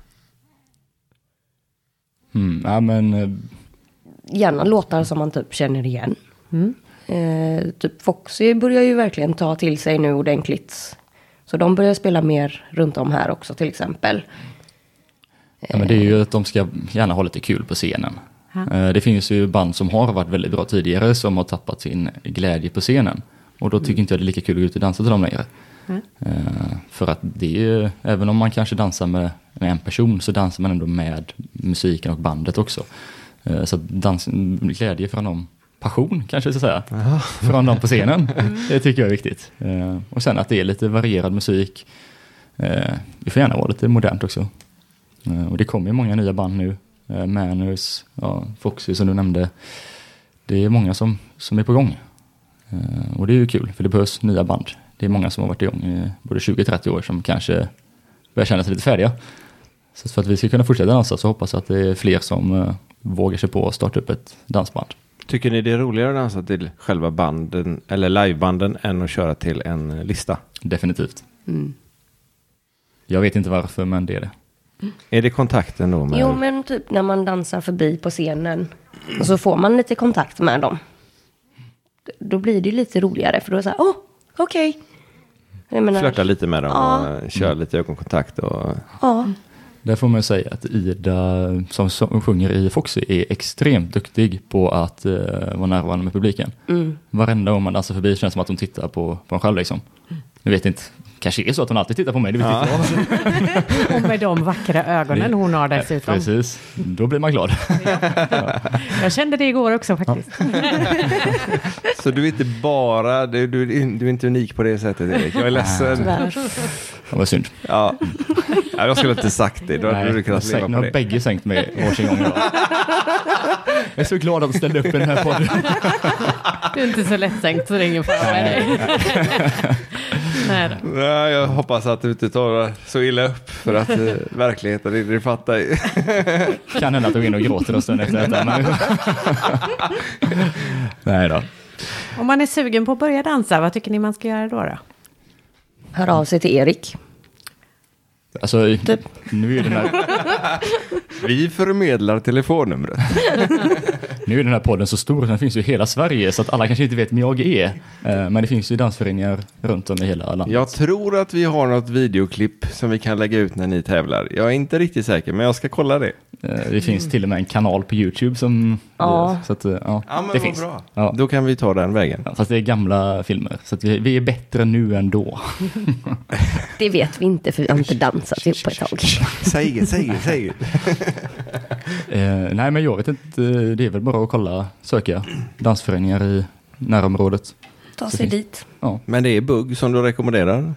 [SPEAKER 5] Mm, ja, men, eh,
[SPEAKER 6] Gärna låtar som man typ känner igen. Eh, typ Foxy börjar ju verkligen ta till sig nu ordentligt. Så de börjar spela mer runt om här också till exempel.
[SPEAKER 5] ja, men det är ju att de ska gärna ha lite kul på scenen. Eh, Det finns ju band som har varit väldigt bra tidigare som har tappat sin glädje på scenen. Och då tycker inte jag det är lika kul att gå ut och dansa till dem längre. Eh, För att det är ju, även om man kanske dansar med med en person så dansar man ändå med musiken och bandet också. Eh, Så att dans, glädje från dem, passion kanske jag ska säga, från dem på scenen. Det tycker jag är viktigt. Eh, Och sen att det är lite varierad musik. Eh, Det får gärna vara lite modernt också. Eh, Och det kommer ju många nya band nu. Eh, Manners, ja, Foxy som du nämnde. Det är många som, som är på gång. Eh, Och det är ju kul, för det behövs nya band. Det är många som har varit igång i både 20-30 år som kanske börjar känna sig lite färdiga. Så för att vi ska kunna fortsätta dansa så hoppas jag att det är fler som eh, vågar sig på att starta upp ett dansband.
[SPEAKER 7] Tycker ni det är roligare att dansa till själva banden eller livebanden än att köra till en lista?
[SPEAKER 5] Definitivt. Jag vet inte varför, men det är det.
[SPEAKER 7] Är det kontakten då? Med...
[SPEAKER 6] Jo, men typ när man dansar förbi på scenen och så får man lite kontakt med dem. Då blir det ju lite roligare för då är det så här, åh, okej. Jag menar,
[SPEAKER 7] Flörta lite med dem
[SPEAKER 6] Ja.
[SPEAKER 7] och eh, köra lite ögonkontakt. Och...
[SPEAKER 6] Ja,
[SPEAKER 5] Där får man ju säga att Ida som, som sjunger i Foxy är extremt duktig på att eh, vara närvarande med publiken. Varenda gång man dansar förbi känns det som att hon tittar på, på en själv liksom. Jag vet inte, kanske är det så att hon alltid tittar på mig, det vet inte jag.
[SPEAKER 2] Och med de vackra ögonen hon har dessutom.
[SPEAKER 5] Precis, då blir man glad.
[SPEAKER 2] Jag kände det igår också faktiskt.
[SPEAKER 1] Så du är inte bara, du, du, du är inte unik på det sättet Erik. Jag är ledsen.
[SPEAKER 6] tyvärr.
[SPEAKER 5] Det var synd.
[SPEAKER 1] Ja. Ja, jag skulle inte sagt det. Då hade du kunnat
[SPEAKER 5] sänkt-
[SPEAKER 1] leva
[SPEAKER 5] nu
[SPEAKER 1] på
[SPEAKER 5] har
[SPEAKER 1] det.
[SPEAKER 5] bägge sänkt mig varsin gång. idag. Jag är så glad att du ställde upp i den här podden.
[SPEAKER 2] Du är inte så lättsänkt så det är ingen fara med dig. Nej då.
[SPEAKER 1] Nej, jag hoppas att du inte tar det så illa upp för att eh, verkligheten, det, det fattar ju.
[SPEAKER 5] Kan hända att jag går in och gråter en stund efter detta. Men... Nej då.
[SPEAKER 2] Om man är sugen på att börja dansa, vad tycker ni man ska göra då? då?
[SPEAKER 6] Hör av sig till Erik.
[SPEAKER 5] Alltså, nu är den här
[SPEAKER 1] Vi förmedlar telefonnumret.
[SPEAKER 5] Nu är den här podden så stor, så den finns ju i hela Sverige, så att alla kanske inte vet vem jag är. Eh, Men det finns ju dansföreningar runt om i hela landet.
[SPEAKER 1] Jag tror att vi har något videoklipp som vi kan lägga ut när ni tävlar. Jag är inte riktigt säker, men jag ska kolla det.
[SPEAKER 5] Eh, Det finns till och med en kanal på YouTube som...
[SPEAKER 6] Ja.
[SPEAKER 5] Så att, eh, ja, det finns.
[SPEAKER 1] Ja.
[SPEAKER 5] Ja.
[SPEAKER 1] Då kan vi ta den vägen.
[SPEAKER 5] Ja, Fast det är gamla filmer, så att vi, vi är bättre nu än då.
[SPEAKER 6] Det vet vi inte för vi har inte dansat ihop på ett tag.
[SPEAKER 1] Säg det, säg det, säg det.
[SPEAKER 5] Eh, nej, men jag vet inte. Det är väl bara att kolla, söka dansföreningar i närområdet.
[SPEAKER 6] Ta sig dit.
[SPEAKER 5] Ja.
[SPEAKER 1] Men det är bugg som du rekommenderar.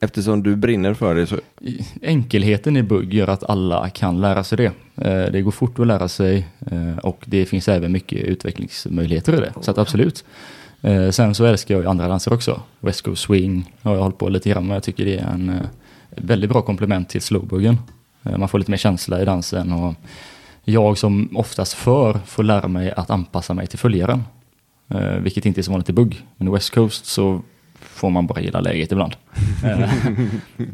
[SPEAKER 1] Eftersom du brinner för det så
[SPEAKER 5] I- Enkelheten i bugg gör att alla kan lära sig det. Eh, Det går fort att lära sig eh, och det finns även mycket utvecklingsmöjligheter i det. Så att absolut. Eh, Sen så älskar jag ju andra danser också. West Coast Swing har jag hållit på lite grann med. Jag tycker det är en eh, väldigt bra komplement till slowbuggen. Eh, Man får lite mer känsla i dansen och jag som oftast för får lära mig att anpassa mig till följaren. Eh, Vilket inte är så vanligt i bugg. Men i West Coast så får man bara gilla läget ibland. Eh,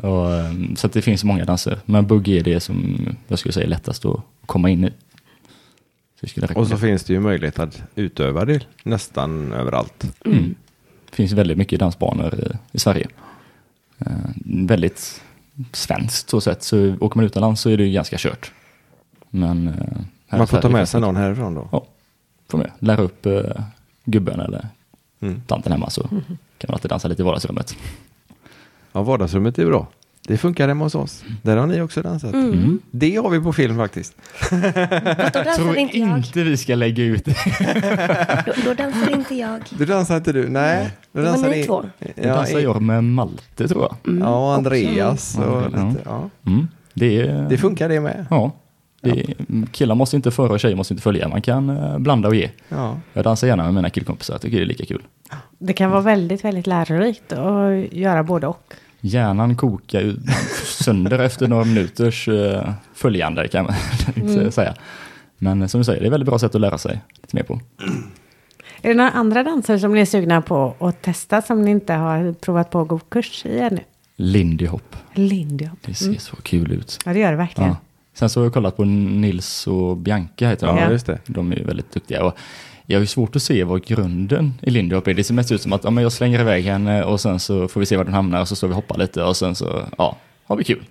[SPEAKER 5] Och, ehm, så att det finns många danser. Men boogie är det som jag skulle säga är lättast att komma in i. Så jag skulle
[SPEAKER 7] Och så
[SPEAKER 5] rekommendera.
[SPEAKER 7] finns det ju möjlighet att utöva det nästan överallt.
[SPEAKER 5] finns väldigt mycket dansbanor i, i Sverige. Eh, väldigt svenskt så sett, så åker man utomlands så är det ju ganska kört. Men eh, här i
[SPEAKER 1] Man får ta
[SPEAKER 5] Sverige
[SPEAKER 1] med
[SPEAKER 5] finns
[SPEAKER 1] sig
[SPEAKER 5] det-
[SPEAKER 1] någon härifrån då.
[SPEAKER 5] Ja, får med. Lära upp eh, gubben eller
[SPEAKER 1] Mm.
[SPEAKER 5] tanten hemma så kan man alltid dansa lite i vardagsrummet.
[SPEAKER 1] Ja, vardagsrummet är bra. Det funkar hemma hos oss. Där har ni också dansat. Det har vi på film faktiskt.
[SPEAKER 6] Fast då dansar inte jag.
[SPEAKER 5] vi ska lägga ut det.
[SPEAKER 6] Då, då dansar inte jag.
[SPEAKER 1] Du dansar inte du? Nej. Du
[SPEAKER 6] Det var
[SPEAKER 1] dansar
[SPEAKER 6] ni
[SPEAKER 1] i-
[SPEAKER 6] två.
[SPEAKER 5] Nu dansar
[SPEAKER 1] i-
[SPEAKER 5] jag med Malte tror jag.
[SPEAKER 1] Ja, och Andreas och
[SPEAKER 5] Ja.
[SPEAKER 1] lite, ja.
[SPEAKER 5] Mm. Det, är,
[SPEAKER 1] Det funkar det med.
[SPEAKER 5] Ja. Det är, killar måste inte föra och tjejer måste inte följa. Man kan eh, blanda och ge.
[SPEAKER 1] Ja.
[SPEAKER 5] Jag dansar gärna med mina killkompisar. Jag tycker det är lika kul.
[SPEAKER 2] Det kan vara väldigt, väldigt lärorikt att göra både och.
[SPEAKER 5] Hjärnan kokar ju sönder efter några minuters eh, följande kan man inte säga. Men eh, som du säger, det är ett väldigt bra sätt att lära sig lite mer på.
[SPEAKER 2] Är det några andra danser som ni är sugna på att testa som ni inte har provat på att gå kurs i ännu?
[SPEAKER 5] Lindy hop.
[SPEAKER 2] Lindy hop.
[SPEAKER 5] Det ser så kul ut.
[SPEAKER 2] Ja, det gör det verkligen.
[SPEAKER 5] Ja. Sen så har jag kollat på Nils och Bianca heter de.
[SPEAKER 2] Ja,
[SPEAKER 1] just det.
[SPEAKER 5] De är ju väldigt duktiga. Och jag har ju svårt att se vad grunden i Lindy Hop är. Det ser mest ut som att ja, men jag slänger iväg henne och sen så får vi se var den hamnar och så står vi och hoppar lite och sen så ja, har vi kul.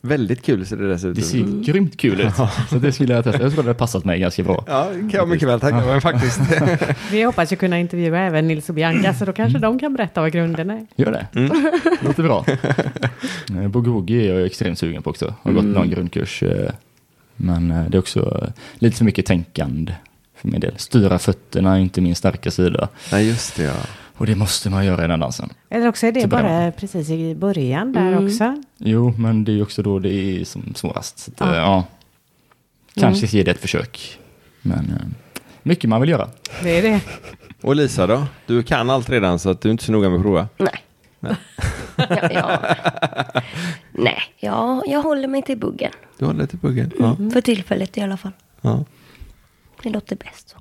[SPEAKER 1] Väldigt kul ser det dessutom
[SPEAKER 5] Det ser ju grymt kul ut. Så det skulle jag testa. Jag tror det hade passat mig ganska bra.
[SPEAKER 1] Ja, det kan jag mycket väl tänka mig faktiskt.
[SPEAKER 2] Vi hoppas ju kunna intervjua även Nils och Bianca, så då kanske de kan berätta vad grunden är.
[SPEAKER 5] Gör det.
[SPEAKER 1] Mm.
[SPEAKER 5] Låter bra. Eh, Boogie Woogie är jag extremt sugen på också. Har gått
[SPEAKER 1] Mm.
[SPEAKER 5] någon grundkurs. eh, Men eh, det är också eh, lite för mycket tänkande för min del. Styra fötterna är inte min starka sida.
[SPEAKER 1] Nej, just det ja.
[SPEAKER 5] Och det måste man göra i den dansen.
[SPEAKER 2] Eller också är det
[SPEAKER 5] Så börjar
[SPEAKER 2] bara precis i början där också.
[SPEAKER 5] Jo, men det är ju också då det är som svårast. Så att, eh, ja. Mm. Kanske ge det ett försök. Men eh, mycket man vill göra.
[SPEAKER 2] Det är det.
[SPEAKER 1] Och Lisa då? Du kan allt redan så att du är inte så noga med att prova.
[SPEAKER 6] Nej. ja, ja. Nej, Mm. ja, jag håller mig till buggen.
[SPEAKER 1] Du håller lite buggen. Ja.
[SPEAKER 6] För tillfället i alla fall.
[SPEAKER 1] ja.
[SPEAKER 6] Det låter bäst så.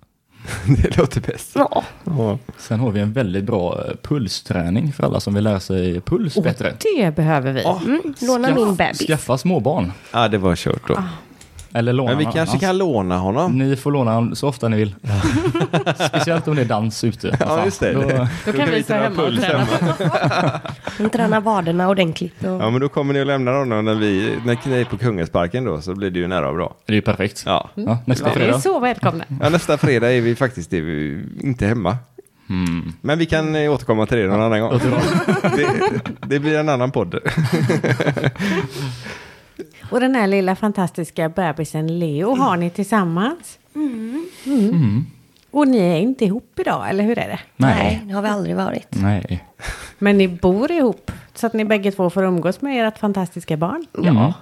[SPEAKER 1] Det låter bäst.
[SPEAKER 6] Ja,
[SPEAKER 1] Ja.
[SPEAKER 5] Sen har vi en väldigt bra eh, pulsträning för alla som vill lära sig puls bättre.
[SPEAKER 2] Det behöver vi.
[SPEAKER 6] mm, låna min bebis.
[SPEAKER 5] Skaffa småbarn.
[SPEAKER 1] ja, det var kört då.
[SPEAKER 5] Eller låna
[SPEAKER 1] Men vi
[SPEAKER 5] någon
[SPEAKER 1] kanske
[SPEAKER 5] annans.
[SPEAKER 1] kan låna honom.
[SPEAKER 5] Ni får låna honom så ofta ni vill. Speciellt om det är dans ute.
[SPEAKER 1] Ja, just det.
[SPEAKER 5] Då,
[SPEAKER 2] Då kan vi stå hemma och träna.
[SPEAKER 6] Hon tränar vaderna ordentligt. Och...
[SPEAKER 1] Ja, men då kommer ni att lämna honom när vi när ni är på Kungensparken då så blir det ju nära och bra.
[SPEAKER 5] det är ju perfekt.
[SPEAKER 1] Ja. Mm.
[SPEAKER 5] Ja, nästa
[SPEAKER 2] Vi är
[SPEAKER 5] fredag.
[SPEAKER 2] så välkomna.
[SPEAKER 1] ja, nästa fredag är vi faktiskt är vi inte hemma. Men vi kan eh, återkomma till det någon annan gång. Det, det blir en annan podd.
[SPEAKER 2] Och den här lilla fantastiska bebisen Leo har ni tillsammans. Mm. Och ni är inte ihop idag, eller hur är det?
[SPEAKER 6] Nej,
[SPEAKER 5] Nej.
[SPEAKER 6] det har vi aldrig varit.
[SPEAKER 5] Nej.
[SPEAKER 2] Men ni bor ihop, så att ni bägge två får umgås med ert fantastiska barn.
[SPEAKER 5] Ja.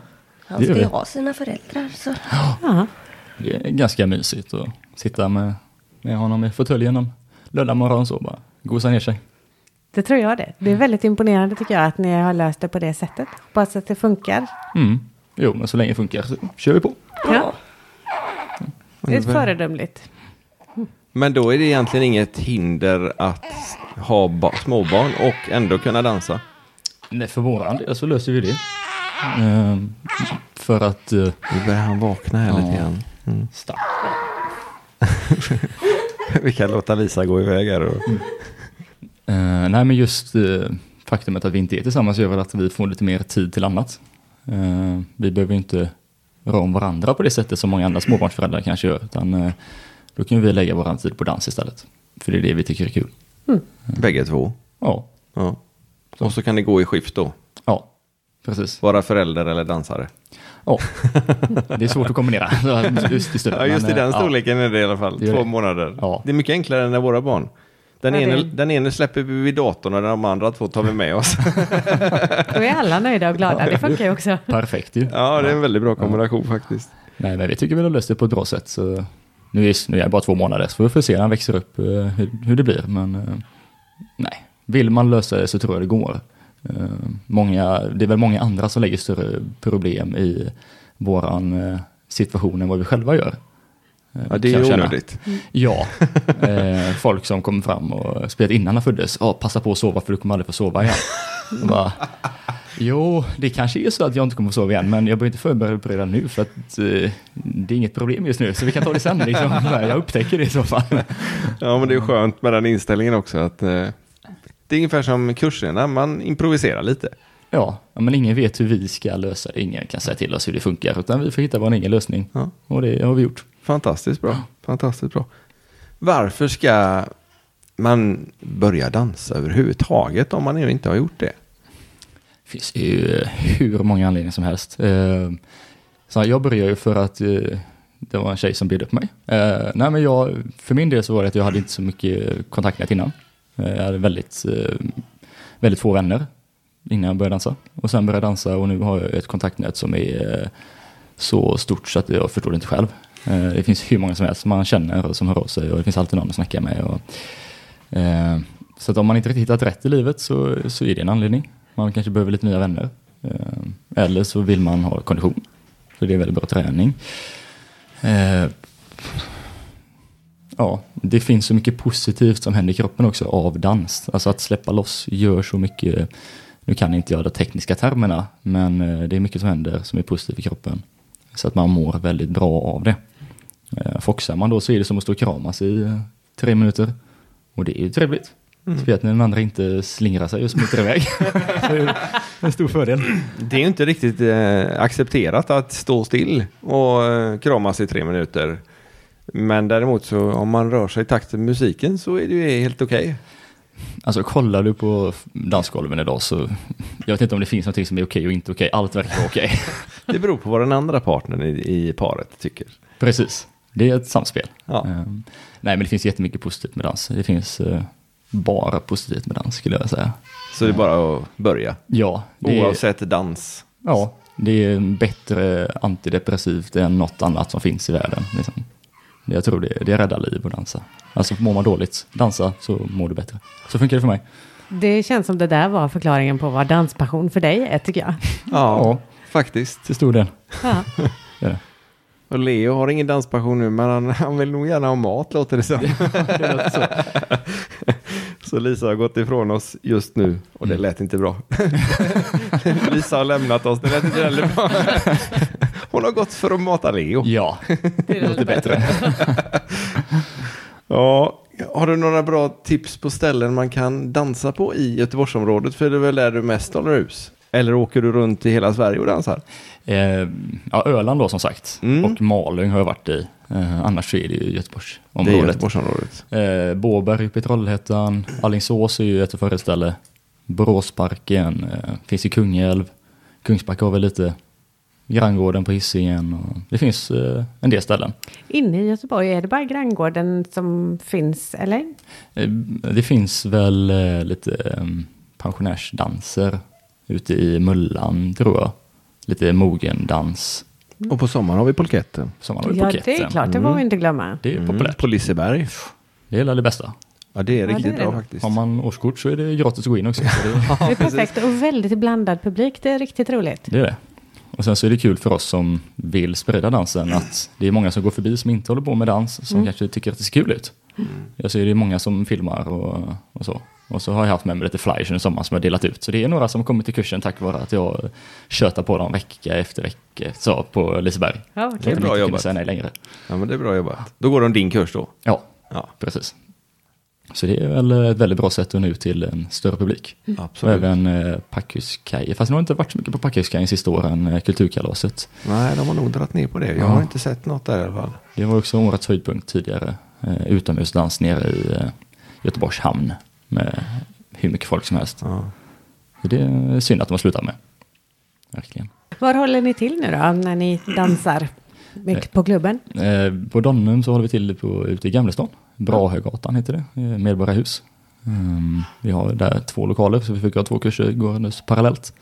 [SPEAKER 6] Han
[SPEAKER 5] Det gör
[SPEAKER 6] ska ju
[SPEAKER 5] vi.
[SPEAKER 6] ha sina föräldrar. Så.
[SPEAKER 2] Ja.
[SPEAKER 5] Det är ganska mysigt att sitta med, med honom i fåtöljen om lördagmorgon så bara gosa ner sig.
[SPEAKER 2] Det tror jag det. Det är väldigt imponerande tycker jag att ni har löst det på det sättet. Hoppas att det funkar.
[SPEAKER 5] Mm. Jo, men så länge det funkar så kör vi på.
[SPEAKER 2] Ja. Det är föredömligt.
[SPEAKER 1] Men då är det egentligen inget hinder att ha ba- småbarn och ändå kunna dansa.
[SPEAKER 5] Nej, för våran del så löser vi det. Ehm, för att... eh,
[SPEAKER 1] Nu börjar han vakna här lite grann. Mm.
[SPEAKER 5] sta-
[SPEAKER 1] Vi kan låta Lisa gå iväg här. Och...
[SPEAKER 5] Eh, nej, men just eh, faktumet att vi inte är tillsammans gör väl att vi får lite mer tid till annat. Eh, vi behöver ju inte röra om varandra på det sättet som många andra småbarnsföräldrar kanske gör, utan eh, då kan vi lägga vår tid på dans istället. För det är det vi tycker är kul.
[SPEAKER 1] Bägge två.
[SPEAKER 5] Ja,
[SPEAKER 1] Ja. Och så kan det gå i skift då.
[SPEAKER 5] ja, precis.
[SPEAKER 1] Vara förälder eller dansare.
[SPEAKER 5] Ja. Det är svårt att kombinera. Just, i stunden,
[SPEAKER 1] Ja, just i
[SPEAKER 5] men, eh,
[SPEAKER 1] den storleken är det i alla fall.
[SPEAKER 5] Det är
[SPEAKER 1] Två
[SPEAKER 5] det.
[SPEAKER 1] månader.
[SPEAKER 5] Ja.
[SPEAKER 1] Det är mycket enklare än våra barn. Den,
[SPEAKER 2] Ja, det är
[SPEAKER 1] ene,
[SPEAKER 2] det.
[SPEAKER 1] den ene släpper vi vid datorn och de andra två tar vi med oss.
[SPEAKER 2] Då är alla nöjda och glada. Det funkar ju också.
[SPEAKER 5] Ja, perfekt ju.
[SPEAKER 1] Ja, det är en väldigt bra kombination faktiskt.
[SPEAKER 5] Nej, men vi tycker väl att löst det på ett bra sätt. Så nu, är, nu är jag bara två månader, så vi får se när han växer upp eh, hur, hur det blir. Men eh, nej, vill man lösa det så tror jag det går. Eh, många, det är väl många andra som lägger större problem i våran eh, situation än vad vi själva gör. Eh,
[SPEAKER 1] Ja,
[SPEAKER 5] kan
[SPEAKER 1] det är
[SPEAKER 5] jag
[SPEAKER 1] ju
[SPEAKER 5] känna. Mm.
[SPEAKER 1] onödigt.
[SPEAKER 5] Ja, eh, folk som kom fram och spelade innan han föddes. Ja, passa på att sova för du kommer aldrig få sova igen. Jag Bara, jo, det kanske är så att jag inte kommer få sova igen, men jag behöver inte förbereda nu för att eh, det är inget problem just nu, så vi kan ta det sen. Liksom. Jag upptäcker det i så fall.
[SPEAKER 1] Ja, men det är skönt med den inställningen också. Att, eh, Det är ungefär som kurserna, man improviserar lite.
[SPEAKER 5] Ja, ja, men ingen vet hur vi ska lösa det. Ingen kan säga till oss hur det funkar, utan vi får hitta vår egen lösning.
[SPEAKER 1] Ja.
[SPEAKER 5] Och det har vi gjort.
[SPEAKER 1] Fantastiskt bra. Fantastiskt bra. Varför ska man börja dansa överhuvudtaget om man ännu inte har gjort det?
[SPEAKER 5] Det finns ju eh, hur många anledningar som helst. Eh, Så här, jag började ju för att eh, det var en tjej som bjöd upp mig. Eh, Nej, men jag, för min del så var det att jag hade inte så mycket kontaktnät innan. Eh, Jag hade väldigt, eh, väldigt få vänner innan jag började dansa. Och sen började jag dansa och nu har jag ett kontaktnät som är eh, så stort så att jag förstår det inte själv. Eh, Det finns hur många som helst som man känner och som hör av sig och det finns alltid någon att snacka med. Och, Eh, Så att om man inte riktigt hittat rätt i livet så, så är det en anledning. Man kanske behöver lite nya vänner. Eh, Eller så vill man ha kondition. Så det är väldigt bra träning. Eh, Ja, det finns så mycket positivt som händer i kroppen också av dans. Alltså att släppa loss gör så mycket. Nu kan inte jag de tekniska termerna, men eh, det är mycket som händer som är positivt i kroppen. Så att man mår väldigt bra av det. Eh, Foxar man då så är det som att stå och kramas i eh, tre minuter. Och det är ju trevligt. Så vet ni när den andra inte slingrar sig och smiter iväg. Mm. det är ju en stor fördel.
[SPEAKER 1] Det är ju inte riktigt eh, accepterat att stå still och eh, kramas i tre minuter. Men däremot så om man rör sig i takt med musiken så är det ju helt okej.
[SPEAKER 5] Alltså kollar du på dansgolven idag så jag vet inte om det finns någonting som är okej och inte okej. Allt verkar vara okej.
[SPEAKER 1] Det beror på vad den andra partnern i, i paret tycker.
[SPEAKER 5] Precis. Det är ett samspel.
[SPEAKER 1] Ja.
[SPEAKER 5] Ehm, nej, men det finns jättemycket positivt med dans. Det finns eh, bara positivt med dans skulle jag säga.
[SPEAKER 1] Så det är bara att börja.
[SPEAKER 5] Ja, det är,
[SPEAKER 1] Oavsett dans.
[SPEAKER 5] ja, det är bättre antidepressivt än något annat som finns i världen. Liksom. Jag tror det, det räddar liv att dansa. Alltså mår man dåligt, dansa så mår du bättre. Så funkar det för mig.
[SPEAKER 2] Det känns som det där var förklaringen på vad danspassion för dig är, tycker jag.
[SPEAKER 1] Ja, faktiskt.
[SPEAKER 5] Till stor del.
[SPEAKER 2] Ja.
[SPEAKER 5] Det är det.
[SPEAKER 1] Och Leo har ingen danspassion nu, men han, han vill nog gärna ha mat låter det som. så Mm. Lisa har gått ifrån oss just nu och det lät inte bra. Lisa har lämnat oss, det lät inte heller bra. Hon har gått för att mata Leo.
[SPEAKER 5] Ja, det låter bättre.
[SPEAKER 1] Ja, har du några bra tips på ställen man kan dansa på i Göteborgsområdet? För det är väl där du mest håller hus? Eller åker du runt i hela Sverige och dansar?
[SPEAKER 5] Eh, ja, Öland då som sagt.
[SPEAKER 1] Mm.
[SPEAKER 5] Och Malung har jag varit i. Eh, annars så är det ju
[SPEAKER 1] Det är
[SPEAKER 5] Göteborgsområdet.
[SPEAKER 1] Göteborgsområdet.
[SPEAKER 5] Eh, Båberg uppe i Trollhättan, Alingsås är ju ett föreställe. Boråsparken, eh, finns i Kungälv, Kungsbacka har väl lite, Granngården på Hisingen och det finns eh, en del ställen.
[SPEAKER 2] Inne i Göteborg, är det bara granngården som finns, eller?
[SPEAKER 5] Eh, det finns väl eh, lite eh, pensionärsdanser ute i Mullan tror jag. Lite mogendans
[SPEAKER 7] Och på sommaren har vi polketten.
[SPEAKER 5] som man har i
[SPEAKER 2] ja,
[SPEAKER 5] Phuket.
[SPEAKER 2] det är klart, det får vi inte glömma.
[SPEAKER 5] Det är
[SPEAKER 1] Mm.
[SPEAKER 5] populärt.
[SPEAKER 7] På Liseberg.
[SPEAKER 5] Det är väl det bästa.
[SPEAKER 1] Ja, det är
[SPEAKER 2] det
[SPEAKER 1] riktigt
[SPEAKER 2] är det
[SPEAKER 1] bra
[SPEAKER 2] nog.
[SPEAKER 1] faktiskt.
[SPEAKER 5] Har man årskort så är det gratis att gå in också. Så det,
[SPEAKER 2] det är perfekt och väldigt blandad publik, det är riktigt roligt.
[SPEAKER 5] Det är det. Och sen så är det kul för oss som vill sprida dansen att det är många som går förbi som inte håller på med dans
[SPEAKER 2] Mm.
[SPEAKER 5] som kanske tycker att det ser kul ut. Jag ser det är många som filmar och, och så. Och så har jag haft med mig lite flyers under sommaren som jag delat ut. Så det är några som har kommit till kursen tack vare att jag tjötar på dem vecka efter vecka så på Liseberg.
[SPEAKER 2] Ja, vad
[SPEAKER 5] Så att
[SPEAKER 2] kul.
[SPEAKER 5] de
[SPEAKER 1] bra
[SPEAKER 5] inte kunde
[SPEAKER 1] jobbat.
[SPEAKER 5] säga nej längre.
[SPEAKER 1] Ja, men det är bra jobbat. Då går de din kurs då?
[SPEAKER 5] Ja,
[SPEAKER 1] Ja,
[SPEAKER 5] precis. Så det är väl ett väldigt bra sätt att nå ut till en större publik.
[SPEAKER 2] Mm.
[SPEAKER 5] Så
[SPEAKER 1] absolut.
[SPEAKER 5] även eh, Packhuskajen, fast nu har jag inte varit så mycket på Packhuskajen sista åren, eh, Kulturkalaset.
[SPEAKER 1] Nej, de har nog dragit ner på det. Jag har inte sett något där i alla fall.
[SPEAKER 5] Det var också årets höjdpunkt tidigare. Eh, utomhusdans nere i eh, Göteborgs hamn med hur mycket folk som helst.
[SPEAKER 1] Ja.
[SPEAKER 5] Det är synd att de har slutat med. Verkligen.
[SPEAKER 2] Var håller ni till nu då, när ni dansar? Mycket på klubben?
[SPEAKER 5] Eh, på Donnum så håller vi till på, ute i Gamlestan. Brahögatan heter det, eh, Medborgarhus. Ehm, vi har där två lokaler så vi fick ha två kurser gåendes parallellt.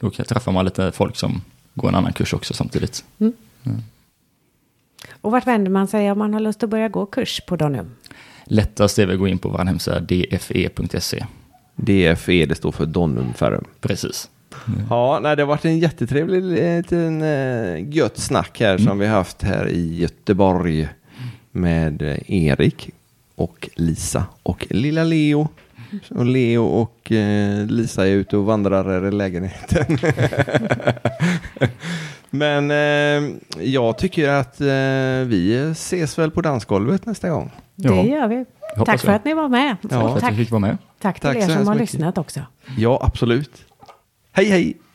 [SPEAKER 5] Då kan- träffar man lite folk som går en annan kurs också samtidigt.
[SPEAKER 2] Och vart vänder man sig om man har lust att börja gå kurs på Donum?
[SPEAKER 5] Lättast är väl att gå in på vår hemsida dfe.se.
[SPEAKER 1] DFE, E, det står för Donum Ferrum.
[SPEAKER 5] Precis.
[SPEAKER 1] Ja, nej, det har varit en jättetrevlig liten eh, gött snack här som vi haft här i Göteborg med eh, Erik och Lisa och lilla Leo. Och Leo och eh, Lisa är ute och vandrar här i lägenheten. Men eh, jag tycker att eh, vi ses väl på dansgolvet nästa gång.
[SPEAKER 2] Det gör vi.
[SPEAKER 5] hoppas
[SPEAKER 2] Tack för
[SPEAKER 5] det.
[SPEAKER 2] att ni var med.
[SPEAKER 1] Ja,
[SPEAKER 5] För att
[SPEAKER 2] tack,
[SPEAKER 5] vi fick vara med.
[SPEAKER 2] tack till
[SPEAKER 1] Tack så
[SPEAKER 2] er som
[SPEAKER 1] hemskt
[SPEAKER 2] har
[SPEAKER 1] mycket.
[SPEAKER 2] lyssnat också.
[SPEAKER 1] Ja, absolut. Hej, hej!